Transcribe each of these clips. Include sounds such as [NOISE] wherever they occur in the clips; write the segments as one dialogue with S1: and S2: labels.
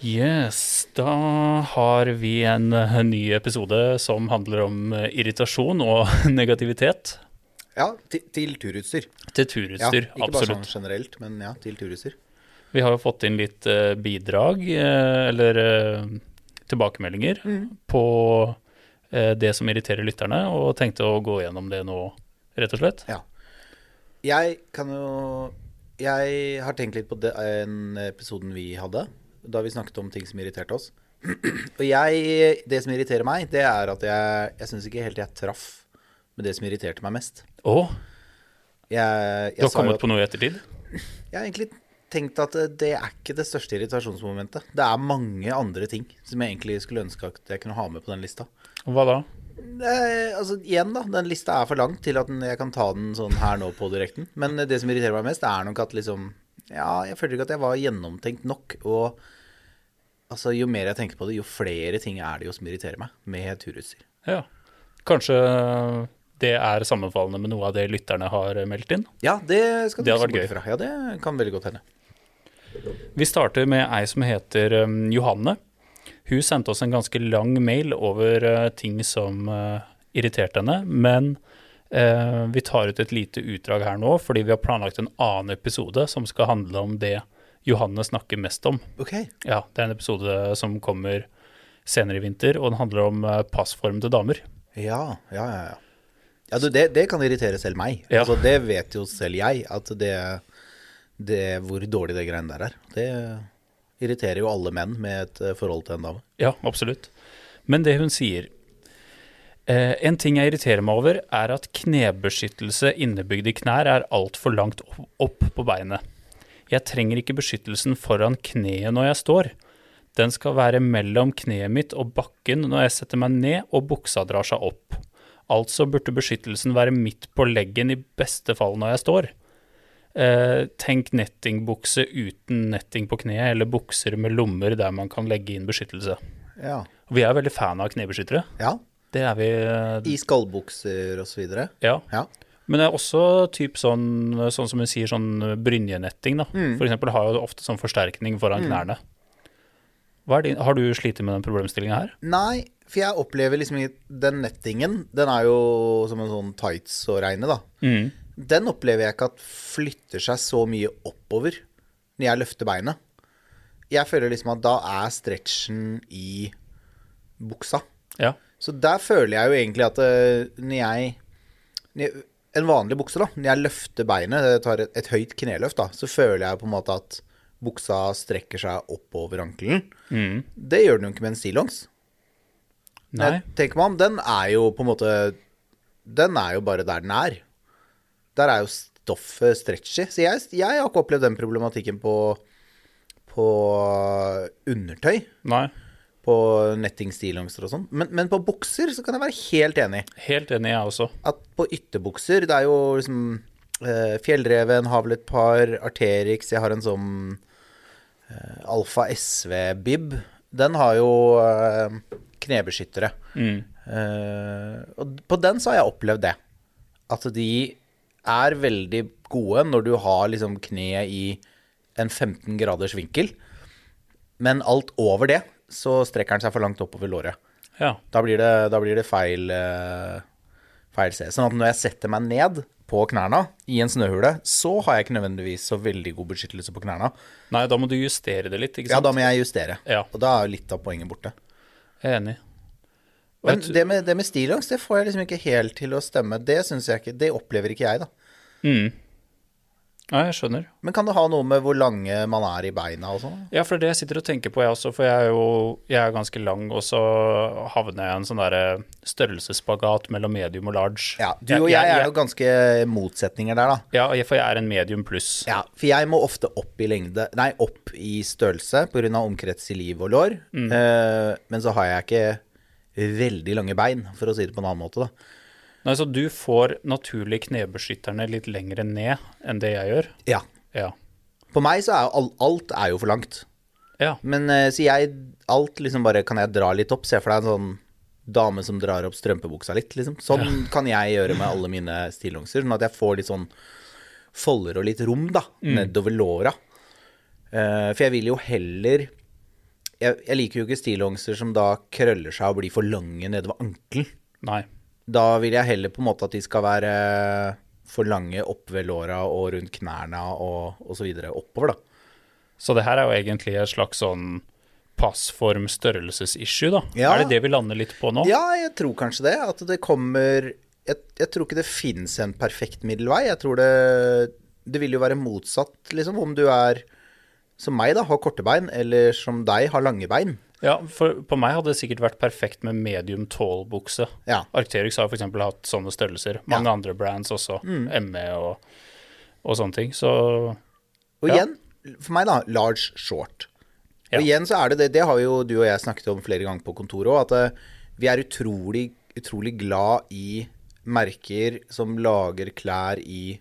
S1: Yes, da har vi en eh, ny episode som handler om eh, irritasjon og [LAUGHS] negativitet
S2: Ja, til, til turutstyr.
S1: til
S2: Ja,
S1: turutstyr.
S2: ikke bare sånn
S1: absolutt.
S2: generelt, men ja, til turutstyr.
S1: Vi har jo fått inn litt eh, bidrag, eh, eller eh, tilbakemeldinger,
S2: Mm.
S1: på eh, det som irriterer lytterne, og tenkte å gå gjennom det nå, rett og slett.
S2: Ja. Jeg kan jo Jeg har tenkt litt på det- den episoden vi hadde, da vi snakket om ting som irriterte oss. [CLEARS THROAT] Og jeg Det som irriterer meg, det er at jeg, jeg syns ikke helt jeg traff med det som irriterte meg mest.
S1: Å,
S2: Jeg, jeg
S1: du har
S2: sa jo
S1: kommet
S2: at-
S1: på noe i ettertid?
S2: Jeg har egentlig tenkt at eh, det er ikke det største irritasjonsmomentet. Det er mange andre ting som jeg egentlig skulle ønske at jeg kunne ha med på den lista.
S1: Hva da?
S2: Eh, altså igjen da, Den lista er for lang til at den- jeg kan ta den sånn her nå på direkten. Men eh, det som irriterer meg mest, er nok at liksom Ja, jeg føler ikke at jeg var gjennomtenkt nok. Og altså, jo mer jeg tenker på det, jo flere ting er det jo som irriterer meg med turutstyr.
S1: Ja. Kanskje eh, det er sammenfallende med noe av det lytterne har eh, meldt inn?
S2: Ja, det skal du
S1: Det hadde
S2: ikke se
S1: vært
S2: bort fra. Ja, det kan veldig godt hende.
S1: Vi starter med ei som heter um, Johanne. Hun sendte oss en ganske lang mail over uh, ting som uh, irriterte henne, men eh, vi tar ut et lite utdrag her nå, fordi vi har planlagt en annen episode som skal handle om det Johanne snakker mest om.
S2: Ok.
S1: Ja, det er en episode som kommer senere i vinter, og den handler om eh, passform til damer.
S2: Ja, ja, ja. ja. ja du, det, det kan irritere selv meg.
S1: Ja.
S2: Altså, det vet jo selv jeg, at det, det hvor dårlig det greiene der er. Det irriterer jo alle menn med et eh, forhold til en dame.
S1: Ja, absolutt. Men det hun sier eh, En ting jeg irriterer meg over, er at knebeskyttelse innebygd i knær er altfor langt opp- opp på beinet. Jeg trenger ikke beskyttelsen foran kneet når jeg står. Den skal være mellom kneet mitt og bakken når jeg setter meg ned og buksa drar seg opp. Altså burde beskyttelsen være midt på leggen i beste fall når jeg står. Eh, tenk nettingbukse uten netting på kneet, eller bukser med lommer der man kan legge inn beskyttelse.
S2: Ja.
S1: Og Vi er veldig fan av knebeskyttere.
S2: ja.
S1: Det er vi.
S2: I skallbukser og så videre.
S1: Ja.
S2: Ja.
S1: Men det er også typ sånn, sånn som hun sier, sånn brynjenetting, da.
S2: Mm.
S1: For eksempel har jo ofte sånn forsterkning foran knærne. Hva er din, har du slitt med den problemstillinga her?
S2: Nei, for jeg opplever liksom ikke- Den nettingen, den er jo som en sånn tights å regne, da. Den opplever jeg ikke at flytter seg så mye oppover når jeg løfter beinet. Jeg føler liksom at da er stretchen i buksa.
S1: Ja.
S2: Så der føler jeg jo egentlig at eh, når jeg når jeg- En vanlig bukse, da. Når jeg løfter beinet, jeg tar et, et høyt kneløft, da, så føler jeg på en måte at buksa strekker seg oppover ankelen. Det gjør den jo ikke med en stillongs. Når
S1: Nei.
S2: Jeg tenker meg om, den er jo på en måte Den er jo bare der den er. Der er jo stoffet stretchy. Så jeg, jeg har ikke opplevd den problematikken på, på undertøy.
S1: Nei.
S2: På nettingstillongser og sånn. Men, men på bukser så kan jeg være helt enig.
S1: Helt enig, jeg også.
S2: At på ytterbukser, det er jo liksom eh, Fjellreven, Havletpar, Arterix Jeg har en sånn eh, Alfa SV-bib. Den har jo eh, knebeskyttere. Eh, og på den så har jeg opplevd det. At de er veldig gode når du har liksom kneet i en 15 graders vinkel. Men alt over det så strekker den seg for langt oppover låret.
S1: Ja.
S2: Da blir det, da blir det feil, eh, feil sted. Sånn at når jeg setter meg ned på knærne i en snøhule, så har jeg ikke nødvendigvis så veldig god beskyttelse på knærne.
S1: Nei, da må du justere det litt, ikke
S2: Ja,
S1: sant?
S2: da må jeg justere.
S1: Ja.
S2: Og da er jo litt av poenget borte.
S1: Jeg er enig. Og
S2: Men
S1: jeg tror-
S2: det med, det med stillongs, det får jeg liksom ikke helt til å stemme. Det synes jeg ikke, det opplever ikke jeg, da.
S1: Ja, jeg skjønner.
S2: Men kan det ha noe med hvor lange man er i beina og sånn?
S1: Ja, for det er det jeg sitter og tenker på, jeg også. For jeg er jo jeg er ganske lang, og så havner jeg i en sånn derre størrelsesspagat mellom medium og large.
S2: Ja, du og jeg, er jo ganske motsetninger der, da.
S1: Ja, for jeg er en medium pluss.
S2: Ja, for jeg må ofte opp i lengde Nei, opp i størrelse pga. omkrets i liv og lår. Eh, men så har jeg ikke veldig lange bein, for å si det på en annen måte, da.
S1: Nei, så du får naturlig knebeskytterne litt lengre ned enn det jeg gjør.
S2: Ja.
S1: Ja.
S2: På meg så er jo all- alt er jo for langt.
S1: Ja.
S2: Men eh, så jeg Alt liksom bare Kan jeg dra litt opp? Se for deg en sånn dame som drar opp strømpebuksa litt, liksom. Sånn kan jeg gjøre med alle mine stillongser, sånn at jeg får litt sånn folder og litt rom, da, nedover låra. Eh, for jeg vil jo heller jeg, jeg liker jo ikke stillongser som da krøller seg og blir for lange nede ved ankelen.
S1: Nei.
S2: Da vil jeg heller på en måte at de skal være for lange opp ved låra og rundt knærne og, og så videre oppover, da.
S1: Så det her er jo egentlig et slags sånn passform-størrelses-issue, da.
S2: Ja.
S1: Er det det vi lander litt på nå?
S2: Ja, jeg tror kanskje det. At det kommer Jeg, jeg tror ikke det fins en perfekt middelvei. Jeg tror det Det vil jo være motsatt, liksom, om du er som meg, da, har korte bein, eller som deg, har lange bein.
S1: Ja, for på meg hadde det sikkert vært perfekt med medium tall-bukse.
S2: Ja.
S1: Arcterix har f.eks. hatt sånne størrelser. Mange andre brands også.
S2: Mm.
S1: ME og, og sånne ting. Så
S2: Og
S1: Ja.
S2: igjen, for meg da, large short.
S1: Ja.
S2: Og igjen så er det det, det har jo du og jeg snakket om flere ganger på kontoret òg, at eh, vi er utrolig, utrolig glad i merker som lager klær i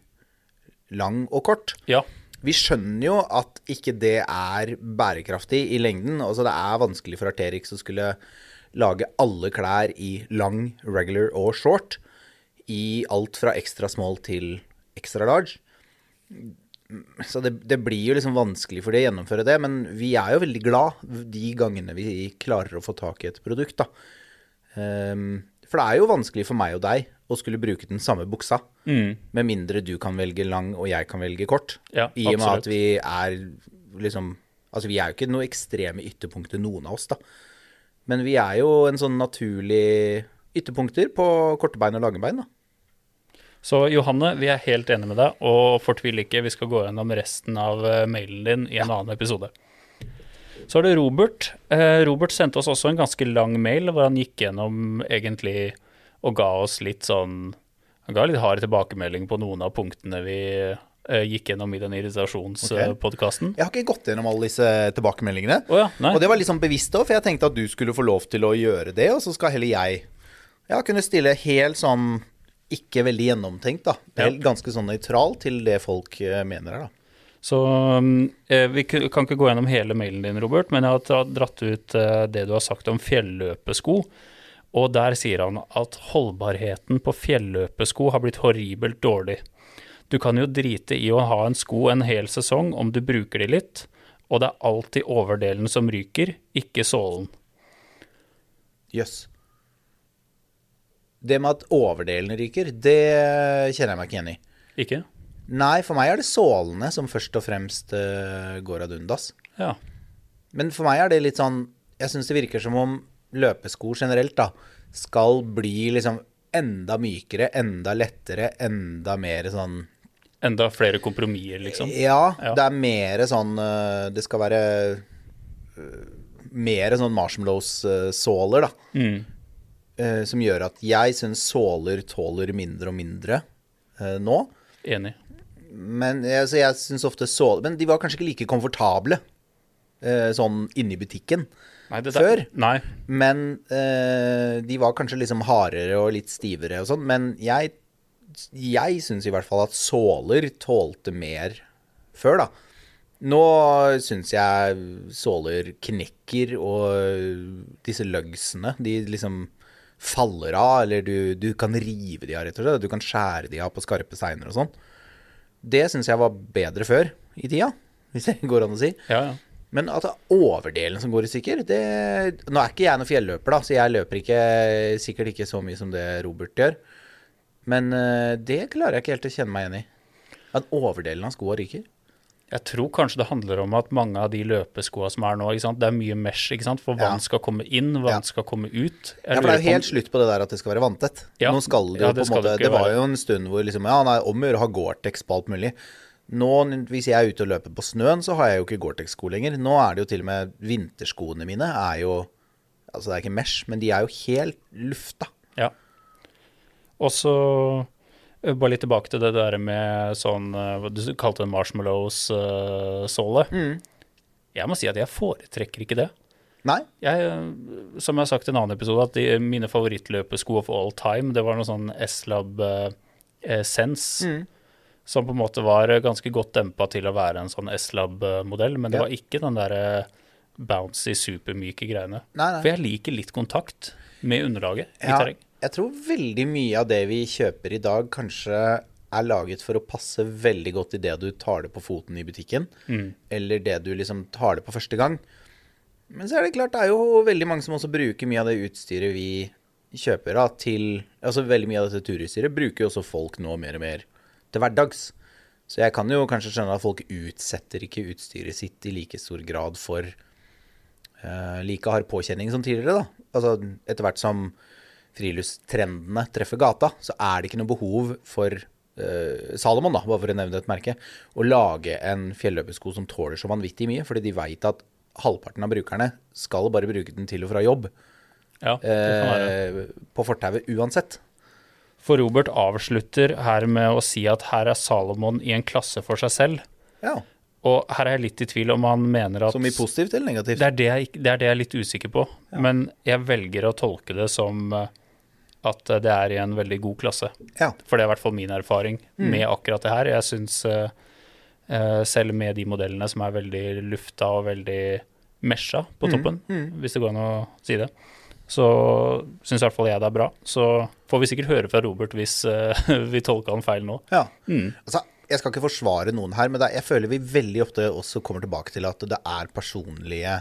S2: lang og kort.
S1: ja.
S2: Vi skjønner jo at ikke det er bærekraftig i lengden. Altså det er vanskelig for Arterix å skulle lage alle klær i lang, regular og short. I alt fra extra small til extra large. Så det, det blir jo liksom vanskelig for de å gjennomføre det, men vi er jo veldig glad de gangene vi klarer å få tak i et produkt, da. Ehm, for det er jo vanskelig for meg og deg å skulle bruke den samme buksa, med mindre du kan velge lang og jeg kan velge kort.
S1: Mm. Ja,
S2: I og med
S1: absolutt.
S2: at vi er liksom Altså, vi er jo ikke noe ekstreme ytterpunkter, noen av oss, da. Men vi er jo en sånn naturlig ytterpunkter på korte bein og lange bein, da.
S1: Så Johanne, vi er helt enige med deg, og fortvil ikke, vi skal gå gjennom resten av eh, mailen din i en annen episode. Så er det Robert. Eh, Robert sendte oss også en ganske lang mail hvor han gikk gjennom egentlig og ga oss litt sånn Han ga litt hard tilbakemelding på noen av punktene vi eh, gikk gjennom i den
S2: Ok.
S1: irritasjonspodkasten.
S2: Jeg har ikke gått gjennom alle disse tilbakemeldingene.
S1: Å ja, nei.
S2: Og det var litt sånn bevisst òg, for jeg tenkte at du skulle få lov til å gjøre det, og så skal heller jeg ja, kunne stille helt sånn ikke veldig gjennomtenkt, da. Helt, Ganske sånn nøytral til det folk eh, mener her, da.
S1: Så um, eh, vi ku- kan ikke gå gjennom hele mailen din, Robert, men jeg har dra- dratt ut eh, det du har sagt om fjelløpesko. Og der sier han at holdbarheten på fjelløpesko har blitt horribelt dårlig. Du kan jo drite i å ha en sko en hel sesong om du bruker de litt, og det er alltid overdelen som ryker, ikke sålen.
S2: Jøss. Det med at overdelen ryker, det kjenner jeg meg ikke igjen i.
S1: Ikke?
S2: Nei, for meg er det sålene som først og fremst eh, går ad undas.
S1: Ja.
S2: Men for meg er det litt sånn Jeg syns det virker som om løpesko generelt da skal bli liksom enda mykere, enda lettere, enda mer sånn
S1: Enda flere kompromisser, liksom.
S2: ja,
S1: Ja.
S2: det er mer sånn øh, Det skal være øh, mer sånn marshmallows-såler, da.
S1: Mm.
S2: Eh, som gjør at jeg syns såler tåler mindre og mindre eh, nå.
S1: Enig.
S2: Men jeg, så jeg synes ofte såler Men de var kanskje ikke like komfortable eh, sånn inne i butikken.
S1: Nei, det
S2: Før?
S1: Nei.
S2: Men eh, de var kanskje liksom hardere og litt stivere og sånn. Men jeg, jeg syns i hvert fall at såler tålte mer før, da. Nå syns jeg såler knekker, og disse lugsene, de liksom faller av. Eller du, du kan rive de av, rett og slett. Du kan skjære de av på skarpe steiner og sånn. Det syns jeg var bedre før i tida, hvis det går an å si.
S1: Ja, ja.
S2: Men at det er overdelen som går i stykker det... Nå er ikke jeg noen fjelløper, da, så jeg løper ikke, sikkert ikke så mye som det Robert gjør. Men eh, det klarer jeg ikke helt å kjenne meg igjen i. At overdelen av skoa ryker.
S1: Jeg tror kanskje det handler om at mange av de løpeskoa som er nå, ikke sant? det er mye mesh, ikke sant? for
S2: Ja.
S1: vann skal komme inn, vann
S2: Ja.
S1: skal komme ut. Jeg
S2: Ja, for
S1: lurer på
S2: det er jo
S1: om-
S2: helt slutt på det der at det skal være vanntett.
S1: Ja.
S2: Nå skal det jo
S1: Ja, det
S2: på en
S1: skal det
S2: måte
S1: ikke
S2: Det var
S1: være.
S2: jo en stund hvor liksom Ja, nei, om å gjøre å ha Gore-Tex på alt mulig. Nå, hvis jeg er ute og løper på snøen, så har jeg jo ikke Gore-Tex-sko lenger. Nå er det jo til og med vinterskoene mine er jo Altså, det er ikke mesh, men de er jo helt lufta.
S1: Ja. Og så eh, bare litt tilbake til det der med sånn eh, hva Du kalte det marshmallows-såle.
S2: Mm.
S1: Jeg må si at jeg foretrekker ikke det.
S2: Nei?
S1: Jeg, eh, som jeg har sagt i en annen episode, at de, mine favorittløpesko of all time, det var noe sånn S-Lab eh, eh, Sense,
S2: Mm.
S1: som på en måte var eh, ganske godt dempa til å være en sånn S-Lab-modell, men det
S2: Ja.
S1: var ikke den der eh, bouncy, supermyke greiene.
S2: Nei, nei.
S1: For jeg liker litt kontakt med underlaget i
S2: Ja,
S1: terreng.
S2: Jeg tror veldig mye av det vi kjøper i dag, kanskje er laget for å passe veldig godt i det du tar det på foten i butikken, eller det du liksom tar det på første gang. Men så er det klart, det er jo veldig mange som også bruker mye av det utstyret vi kjøper da, til Altså veldig mye av dette turutstyret bruker jo også folk nå mer og mer til hverdags. Så jeg kan jo kanskje skjønne at folk utsetter ikke utstyret sitt i like stor grad for eh, like hard påkjenning som tidligere, da. Altså etter hvert som friluftstrendene treffer gata, så er det ikke noe behov for eh, Salomon, da, bare for å nevne et merke, å lage en fjelløpesko som tåler så vanvittig mye, fordi de veit at halvparten av brukerne skal bare bruke den til og fra jobb
S1: Ja, det kan være.
S2: eh, på fortauet uansett.
S1: For Robert avslutter her med å si at her er Salomon i en klasse for seg selv.
S2: Ja,
S1: Og her er jeg litt i tvil om han mener at
S2: Som i positivt eller negativt?
S1: det, er det, jeg, ikke- det er det jeg er litt usikker på. Men jeg velger å tolke det som eh, at det er i en veldig god klasse.
S2: Ja.
S1: For det er i hvert fall min erfaring med akkurat det her. Jeg syns eh, selv med de modellene som er veldig lufta og veldig mesja på toppen, hvis det går an å si det, så syns i hvert fall jeg det er bra. Så får vi sikkert høre fra Robert hvis eh, [LAUGHS] vi tolka han feil nå.
S2: ja.
S1: Mm.
S2: Altså, jeg skal ikke forsvare noen her, men det er, jeg føler vi veldig ofte også kommer tilbake til at det er personlige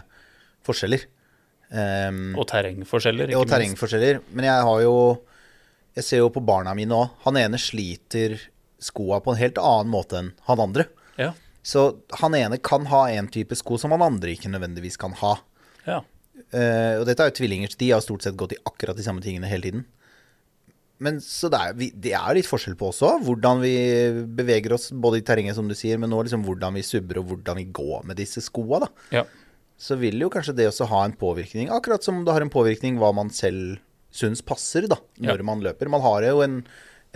S2: forskjeller. Ehm,
S1: Og terrengforskjeller,
S2: og
S1: ikke minst.
S2: terrengforskjeller. Men jeg har jo Jeg ser jo på barna mine òg. Han ene sliter skoa på en helt annen måte enn han andre.
S1: Ja,
S2: Så han ene kan ha en type sko som han andre ikke nødvendigvis kan ha.
S1: ja.
S2: Eh, og dette er jo tvillinger, så de har stort sett gått i akkurat de samme tingene hele tiden. Men så det er, vi, det er jo litt forskjell på også, hvordan vi beveger oss både i terrenget, som du sier, men nå liksom hvordan vi subber og hvordan vi går med disse skoa, da.
S1: ja.
S2: Så vil jo kanskje det også ha en påvirkning, akkurat som det har en påvirkning hva man selv syns passer, da, når
S1: Ja.
S2: man løper. Man har jo en,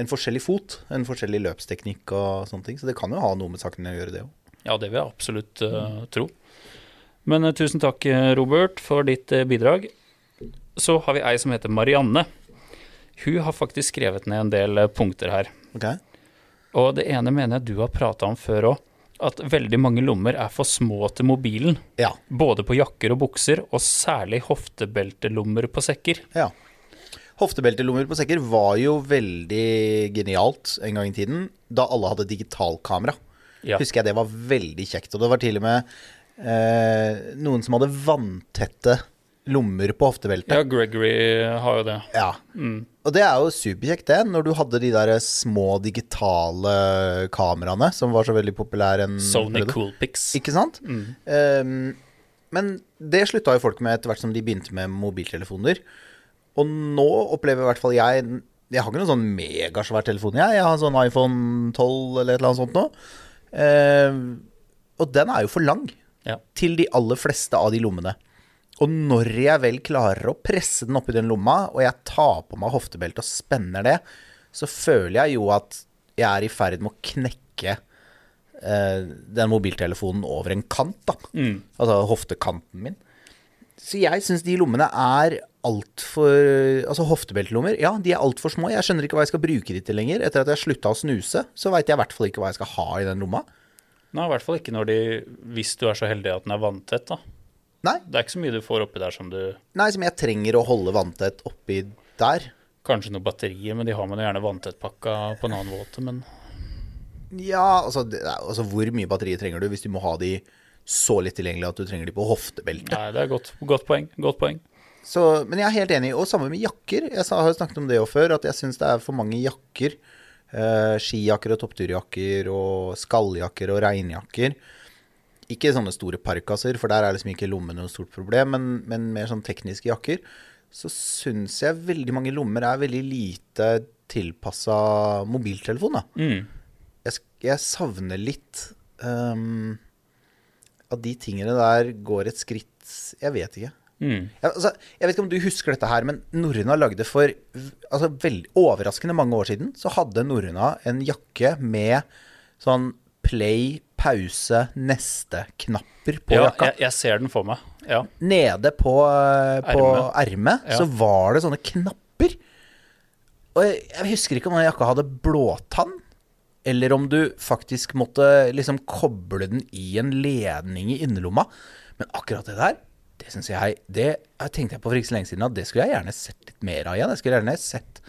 S2: en forskjellig fot, en forskjellig løpsteknikk og sånne ting, så det kan jo ha noe med sakene å gjøre, det òg.
S1: Ja, det vil jeg absolutt eh, tro. Men eh, tusen takk, eh, Robert, for ditt eh, bidrag. Så har vi ei som heter Marianne. Hun har faktisk skrevet ned en del eh, punkter her.
S2: Ok?
S1: Og det ene mener jeg du har prata om før òg, at veldig mange lommer er for små til mobilen.
S2: Ja.
S1: Både på jakker og bukser, og særlig hoftebeltelommer på sekker.
S2: Ja. Hoftebeltelommer på sekker var jo veldig genialt en gang i tiden, da alle hadde digitalkamera.
S1: Ja.
S2: Husker jeg det var veldig kjekt. Og det var til og med eh, noen som hadde vanntette lommer på hoftebeltet.
S1: ja, Mm. Gregory har jo det.
S2: Ja. Og det er jo superkjekt, det, når du hadde de der små digitale kameraene som var så veldig populære. en
S1: Sony
S2: periode.
S1: Coolpix.
S2: Ikke sant? Ehm, men det slutta jo folk med etter hvert som de begynte med mobiltelefoner. Og nå opplever i hvert fall jeg Jeg har ikke noen sånn megasvær telefon, jeg. Jeg har en sånn iPhone 12 eller et eller annet sånt nå. Ehm, og den er jo for lang
S1: Ja.
S2: til de aller fleste av de lommene. Og når jeg vel klarer å presse den oppi den lomma, og jeg tar på meg hoftebeltet og spenner det, så føler jeg jo at jeg er i ferd med å knekke eh, den mobiltelefonen over en kant, da. Altså hoftekanten min. Så jeg syns de lommene er altfor Altså hoftebeltelommer, ja, de er altfor små. Jeg skjønner ikke hva jeg skal bruke de til lenger. Etter at jeg slutta å snuse, så veit jeg i hvert fall ikke hva jeg skal ha i den lomma.
S1: Nei, i hvert fall ikke når de Hvis du er så heldig at den er vanntett, da.
S2: Nei,
S1: Det er ikke så mye du får oppi der som du
S2: nei som jeg trenger å holde vanntett oppi der.
S1: Kanskje noen batterier, men de har man jo gjerne vanntettpakka på en annen måte.
S2: [LAUGHS]
S1: Men
S2: Ja, altså, det, er- altså hvor mye batteri trenger du hvis du må ha de så litt tilgjengelig at du trenger de på hoftebeltet?
S1: nei, det er godt, godt poeng. Godt poeng.
S2: Så, men jeg er helt enig, og samme med jakker. Jeg sa, har jo snakket om det jo før, at jeg syns det er for mange jakker. Eh, skijakker og toppturjakker og skalljakker og regnjakker. Ikke sånne store parkaser, for der er liksom ikke lommene noe stort problem, men, men mer sånn tekniske jakker. Så syns jeg veldig mange lommer er veldig lite tilpassa mobiltelefon, da. Jeg, sk- jeg savner litt ehm, at de tingene der går et skritt Jeg vet ikke.
S1: Mm.
S2: Ja, altså, jeg vet ikke om du husker dette her, men Norrøna lagde for v- altså, veldig overraskende mange år siden, så hadde Norrøna en jakke med sånn play, pause, neste-knapper på
S1: Ja,
S2: jakka.
S1: jeg, jeg ser den for meg. Ja.
S2: Nede på, eh, på
S1: Ermet.
S2: ermet
S1: Ja.
S2: så var det sånne knapper. Og jeg, jeg husker ikke om den jakka hadde blåtann, eller om du faktisk måtte liksom koble den i en ledning i innerlomma. Men akkurat det der, det syns jeg Det jeg tenkte jeg på for ikke så lenge siden, at det skulle jeg gjerne sett litt mer av igjen. Jeg skulle gjerne sett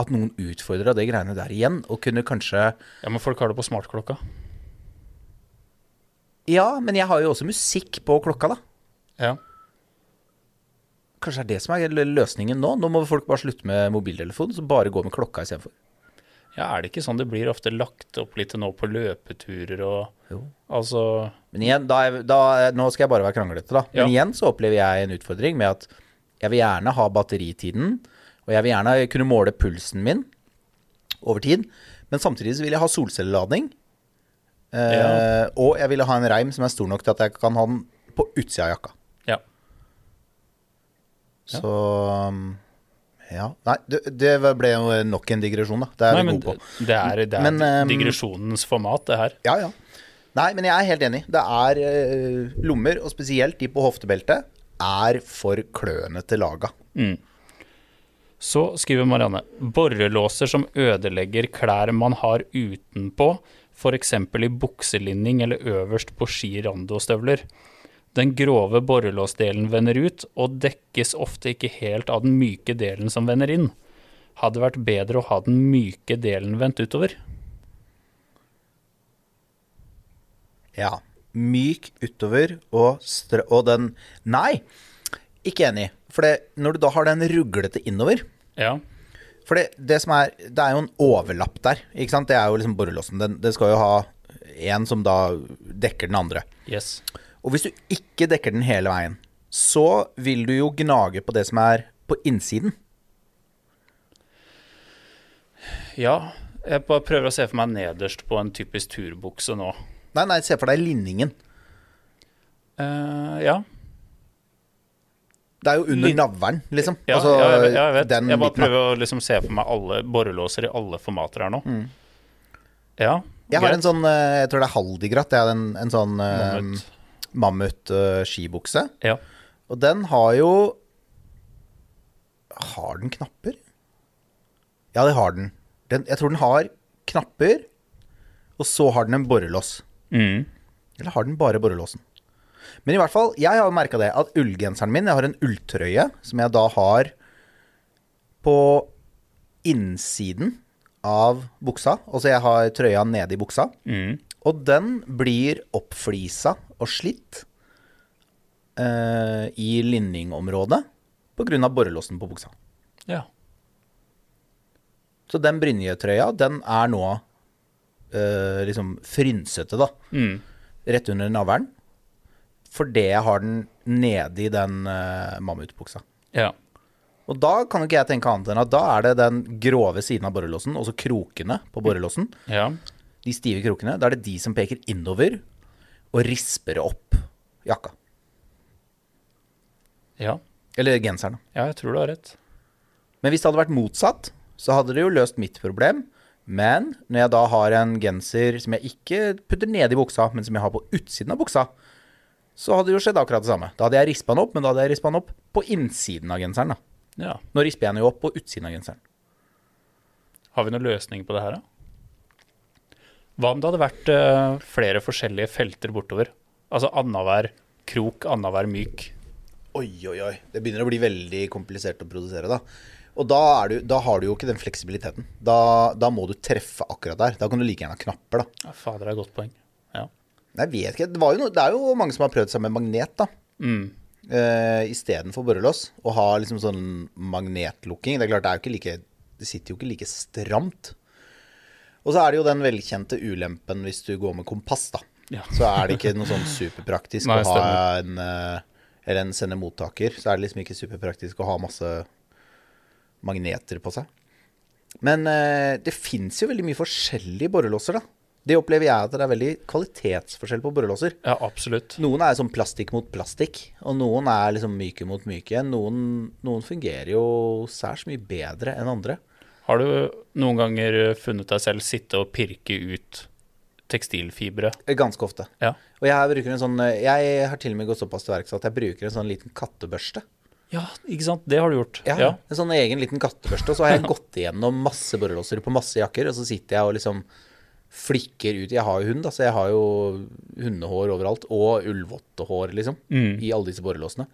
S2: at noen utfordra det greiene der igjen, og kunne kanskje
S1: ja, men folk har det på smartklokka.
S2: Ja, men jeg har jo også musikk på klokka, da.
S1: Ja.
S2: Kanskje det er det som er løsningen nå? Nå må folk bare slutte med mobiltelefon, så bare gå med klokka istedenfor.
S1: Ja, er det ikke sånn det blir ofte lagt opp litt til nå på løpeturer og
S2: Jo.
S1: Altså
S2: Men igjen, da, er- da, er- nå skal jeg bare være kranglete, da. Men
S1: Ja.
S2: igjen så opplever jeg en utfordring med at jeg vil gjerne ha batteritiden, og jeg vil gjerne kunne måle pulsen min over tid, men samtidig så vil jeg ha solcelleladning, eh,
S1: Ja.
S2: og jeg vil ha en reim som er stor nok til at jeg kan ha den på utsida av jakka.
S1: Ja. Ja.
S2: Så um, ja. Nei, det, det ble jo nok en digresjon, da. Det er
S1: Nei,
S2: vi
S1: men
S2: gode på.
S1: det det er, det er
S2: Men, ehm,
S1: digresjonens format, det her.
S2: Ja, ja. Nei, men jeg er helt enig. Det er eh, lommer, og spesielt de på hoftebeltet, er for klønete laga.
S1: Så skriver Marianne borrelåser som ødelegger klær man har utenpå, f.eks. i bukselinning eller øverst på ski randostøvler. Den grove borrelåsdelen vender ut, og dekkes ofte ikke helt av den myke delen som vender inn. Hadde vært bedre å ha den myke delen vendt utover.
S2: Ja. Myk utover og strø... Og den Nei, ikke enig. For det, når du da har den ruglete innover
S1: Ja.
S2: For det, det som er Det er jo en overlapp der, ikke sant? Det er jo liksom borrelåsen. Den, den skal jo ha en som da dekker den andre.
S1: Yes.
S2: Og hvis du ikke dekker den hele veien, så vil du jo gnage på det som er på innsiden.
S1: Ja, jeg bare prøver å se for meg nederst på en typisk turbukse nå.
S2: Nei, nei, se for deg linningen.
S1: Eh, ja.
S2: Det er jo under
S1: Lin-
S2: navlen, liksom.
S1: Ja,
S2: Altså,
S1: ja, jeg, jeg vet.
S2: den
S1: jeg bare
S2: midten av-
S1: prøver å liksom se for meg alle borrelåser i alle formater her nå. Ja,
S2: Mm. Jeg har
S1: greit.
S2: en sånn, eh, jeg tror det er haldigratt, det er en, en sånn
S1: Mammut.
S2: mammut-skibukse.
S1: Ja.
S2: og den har jo Har den knapper? Ja, det har den. den. Jeg tror den har knapper, og så har den en borrelås.
S1: Mm.
S2: Eller har den bare borrelåsen? Men i hvert fall, jeg har merka det, at ullgenseren min Jeg har en ulltrøye som jeg da har på innsiden av buksa. Altså jeg har trøya nede i buksa.
S1: Mm.
S2: Og den blir oppflisa og slitt eh, i linningområdet pga. borrelåsen på buksa.
S1: ja.
S2: Så den brynjetrøya, den er nå eh, liksom frynsete, da.
S1: Mm.
S2: rett under navlen. Fordi jeg har den nedi den eh, mammutbuksa.
S1: ja.
S2: Og da kan jo ikke jeg tenke annet enn at da er det den grove siden av borrelåsen, også krokene på borrelåsen,
S1: Ja.
S2: de stive krokene, da er det de som peker innover og risper opp jakka.
S1: Ja.
S2: Eller genseren. da.
S1: Ja, jeg tror du har rett.
S2: Men hvis det hadde vært motsatt, så hadde det jo løst mitt problem. Men når jeg da har en genser som jeg ikke putter ned i buksa, men som jeg har på utsiden av buksa, så hadde det jo skjedd akkurat det samme. Da hadde jeg rispa den opp, men da hadde jeg rispa den opp på innsiden av genseren. da.
S1: Ja.
S2: Nå risper jeg den jo opp på utsiden av genseren.
S1: Har vi noen løsning på det her, da? Hva om det hadde vært eh, flere forskjellige felter bortover? Altså annenhver krok, annenhver myk.
S2: Oi, oi, oi. Det begynner å bli veldig komplisert å produsere, da. Og da, er du, da har du jo ikke den fleksibiliteten. Da, da må du treffe akkurat der. Da kan du like gjerne ha knapper, da.
S1: Ja, fader, det er et godt poeng. Ja.
S2: Nei, Jeg vet ikke. Det, var jo noe, det er jo mange som har prøvd seg med magnet, da.
S1: Mm.
S2: Eh, Istedenfor borrelås. Å ha liksom sånn magnetlukking. Det er klart, det er jo ikke like Det sitter jo ikke like stramt. Og så er det jo den velkjente ulempen hvis du går med kompass, da.
S1: Ja.
S2: Så er det ikke noe sånn superpraktisk
S1: Nei,
S2: å ha en eh, Eller en sendemottaker. Så er det liksom ikke superpraktisk å ha masse magneter på seg. Men eh, det fins jo veldig mye forskjellige borrelåser, da. Det opplever jeg at det er veldig kvalitetsforskjell på borrelåser.
S1: ja, absolutt.
S2: Noen er sånn plastikk mot plastikk, og noen er liksom myke mot myke. Noen, noen fungerer jo særs mye bedre enn andre.
S1: Har du noen ganger eh, funnet deg selv sitte og pirke ut tekstilfibre?
S2: Ganske ofte.
S1: Ja.
S2: Og jeg bruker en sånn Jeg har til og med gått såpass til verks at jeg bruker en sånn liten kattebørste.
S1: ja, ikke sant. Det har du gjort.
S2: Ja, En sånn egen liten kattebørste. Og så har jeg gått igjennom masse borrelåser på masse jakker, og så sitter jeg og liksom flikker ut Jeg har jo hund, da, så jeg har jo hundehår overalt. Og ullvottehår, liksom. I alle disse borrelåsene.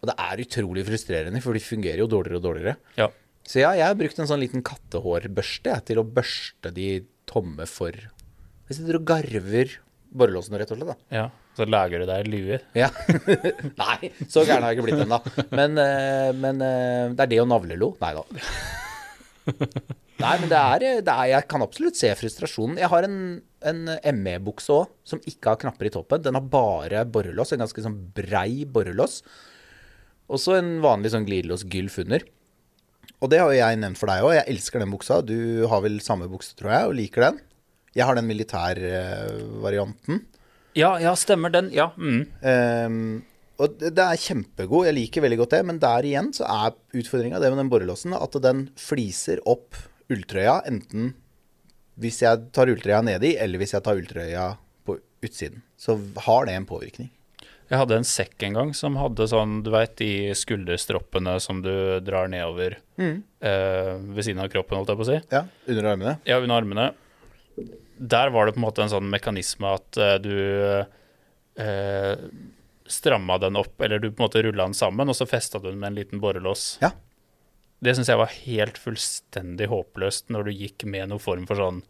S2: Og det er utrolig frustrerende, for de fungerer jo dårligere og dårligere.
S1: Ja.
S2: Så ja, jeg har brukt en sånn liten kattehårbørste jeg, til å børste de tomme for Jeg sitter og garver borrelåsene, rett og slett. da.
S1: ja. Så lager du deg lue.
S2: Ja. [LAUGHS] Nei, så gæren har jeg ikke blitt ennå. Men, eh, men eh, det er det og navlelo. Nei [LAUGHS] da. Nei, men det er, det er Jeg kan absolutt se frustrasjonen. Jeg har en, en ME-bukse òg, som ikke har knapper i toppen. Den har bare borrelås, en ganske sånn brei borrelås. Og så en vanlig sånn glidelås gylf under. Og det har jo jeg nevnt for deg òg. Jeg elsker den buksa. Du har vel samme bukse, tror jeg, og liker den. Jeg har den militærvarianten.
S1: Ja, ja, stemmer den. Ja. Mm.
S2: Ehm, og det det er kjempegod, jeg liker veldig godt det, men der igjen så er utfordringa det med den borrelåsen at den fliser opp ulltrøya, enten hvis jeg tar ulltrøya nedi, eller hvis jeg tar ulltrøya på utsiden. Så har det en påvirkning.
S1: Jeg hadde en sekk en gang som hadde sånn, du veit, de skulderstroppene som du drar nedover eh, ved siden av kroppen, holdt jeg på å si.
S2: Ja, Under armene.
S1: Ja, under armene. Der var det på en måte en sånn mekanisme at eh, du eh, stramma den opp, eller du på en måte rulla den sammen, og så festa du den med en liten borrelås.
S2: Ja.
S1: Det syns jeg var helt fullstendig håpløst når du gikk med noen form for sånn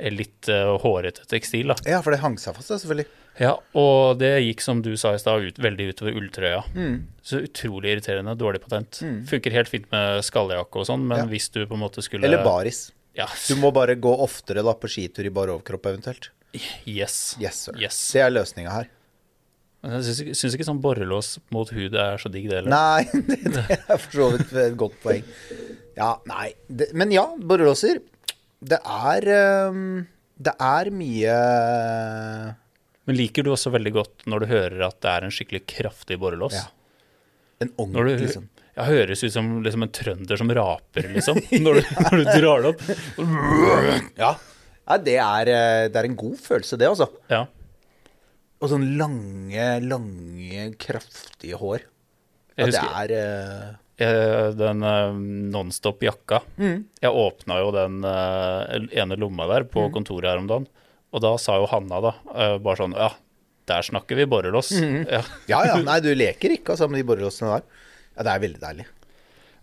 S1: eh, litt eh, hårete tekstil. da.
S2: ja, for det hang seg fast, det, selvfølgelig.
S1: Ja, og det gikk, som du sa i stad, ut, veldig utover ulltrøya.
S2: Mm.
S1: Så utrolig irriterende, dårlig patent. Funker helt fint med skalljakke og sånn, men
S2: Ja.
S1: hvis du på en måte skulle
S2: Eller baris.
S1: Ja,
S2: Du må bare gå oftere da på skitur i bar overkropp eventuelt.
S1: [LAUGHS] yes.
S2: Yes, sir.
S1: Yes.
S2: Det er løsninga her.
S1: Men Jeg syns, syns ikke sånn borrelås mot hud er så digg, det heller.
S2: Nei, [LAUGHS] det, det er for så vidt et godt poeng. Ja, nei. Det, men ja, borrelåser. Det er ehm, Det er mye eh,
S1: Men liker du også veldig godt når du hører at det er en skikkelig kraftig borrelås?
S2: Ja. En
S1: Når du
S2: ordentlig sånn.
S1: ja, høres ut som liksom en trønder som raper,
S2: [LAUGHS]
S1: liksom, når du, når du drar det opp.
S2: sånn- Ja. ja det, er, eh, det er en god følelse, det, altså.
S1: Ja.
S2: Og sånn lange, lange, kraftige hår. Ja,
S1: Jeg
S2: det
S1: husker-
S2: er eh,
S1: Eh, Den eh, Nonstop-jakka.
S2: Mm.
S1: Jeg åpna jo den eh, ene lomma der
S2: Mm.
S1: på kontoret her om dagen, og da sa jo Hanna da eh, bare sånn Ja, der snakker vi borrelås.
S2: Mm.
S1: Ja.
S2: Ja ja, nei, du leker ikke altså, med de borrelåsene der. Ja, det er veldig deilig.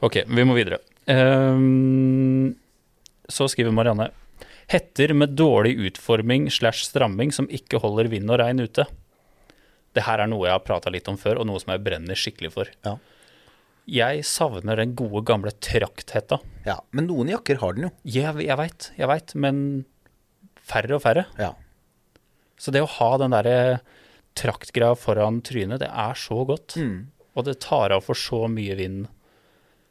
S1: Ok, vi må videre. Ehm, så skriver Marianne. Hetter med dårlig utforming slash stramming som ikke holder vind og regn ute. Det her er noe jeg har prata litt om før, og noe som jeg brenner skikkelig for.
S2: Ja.
S1: Jeg savner den gode, gamle trakthetta.
S2: ja. Men noen jakker har den jo.
S1: Jeg, jeg veit, jeg veit, men færre og færre.
S2: Ja.
S1: Så det å ha den derre traktgreia foran trynet, det er så godt. Og det tar av for så mye vind.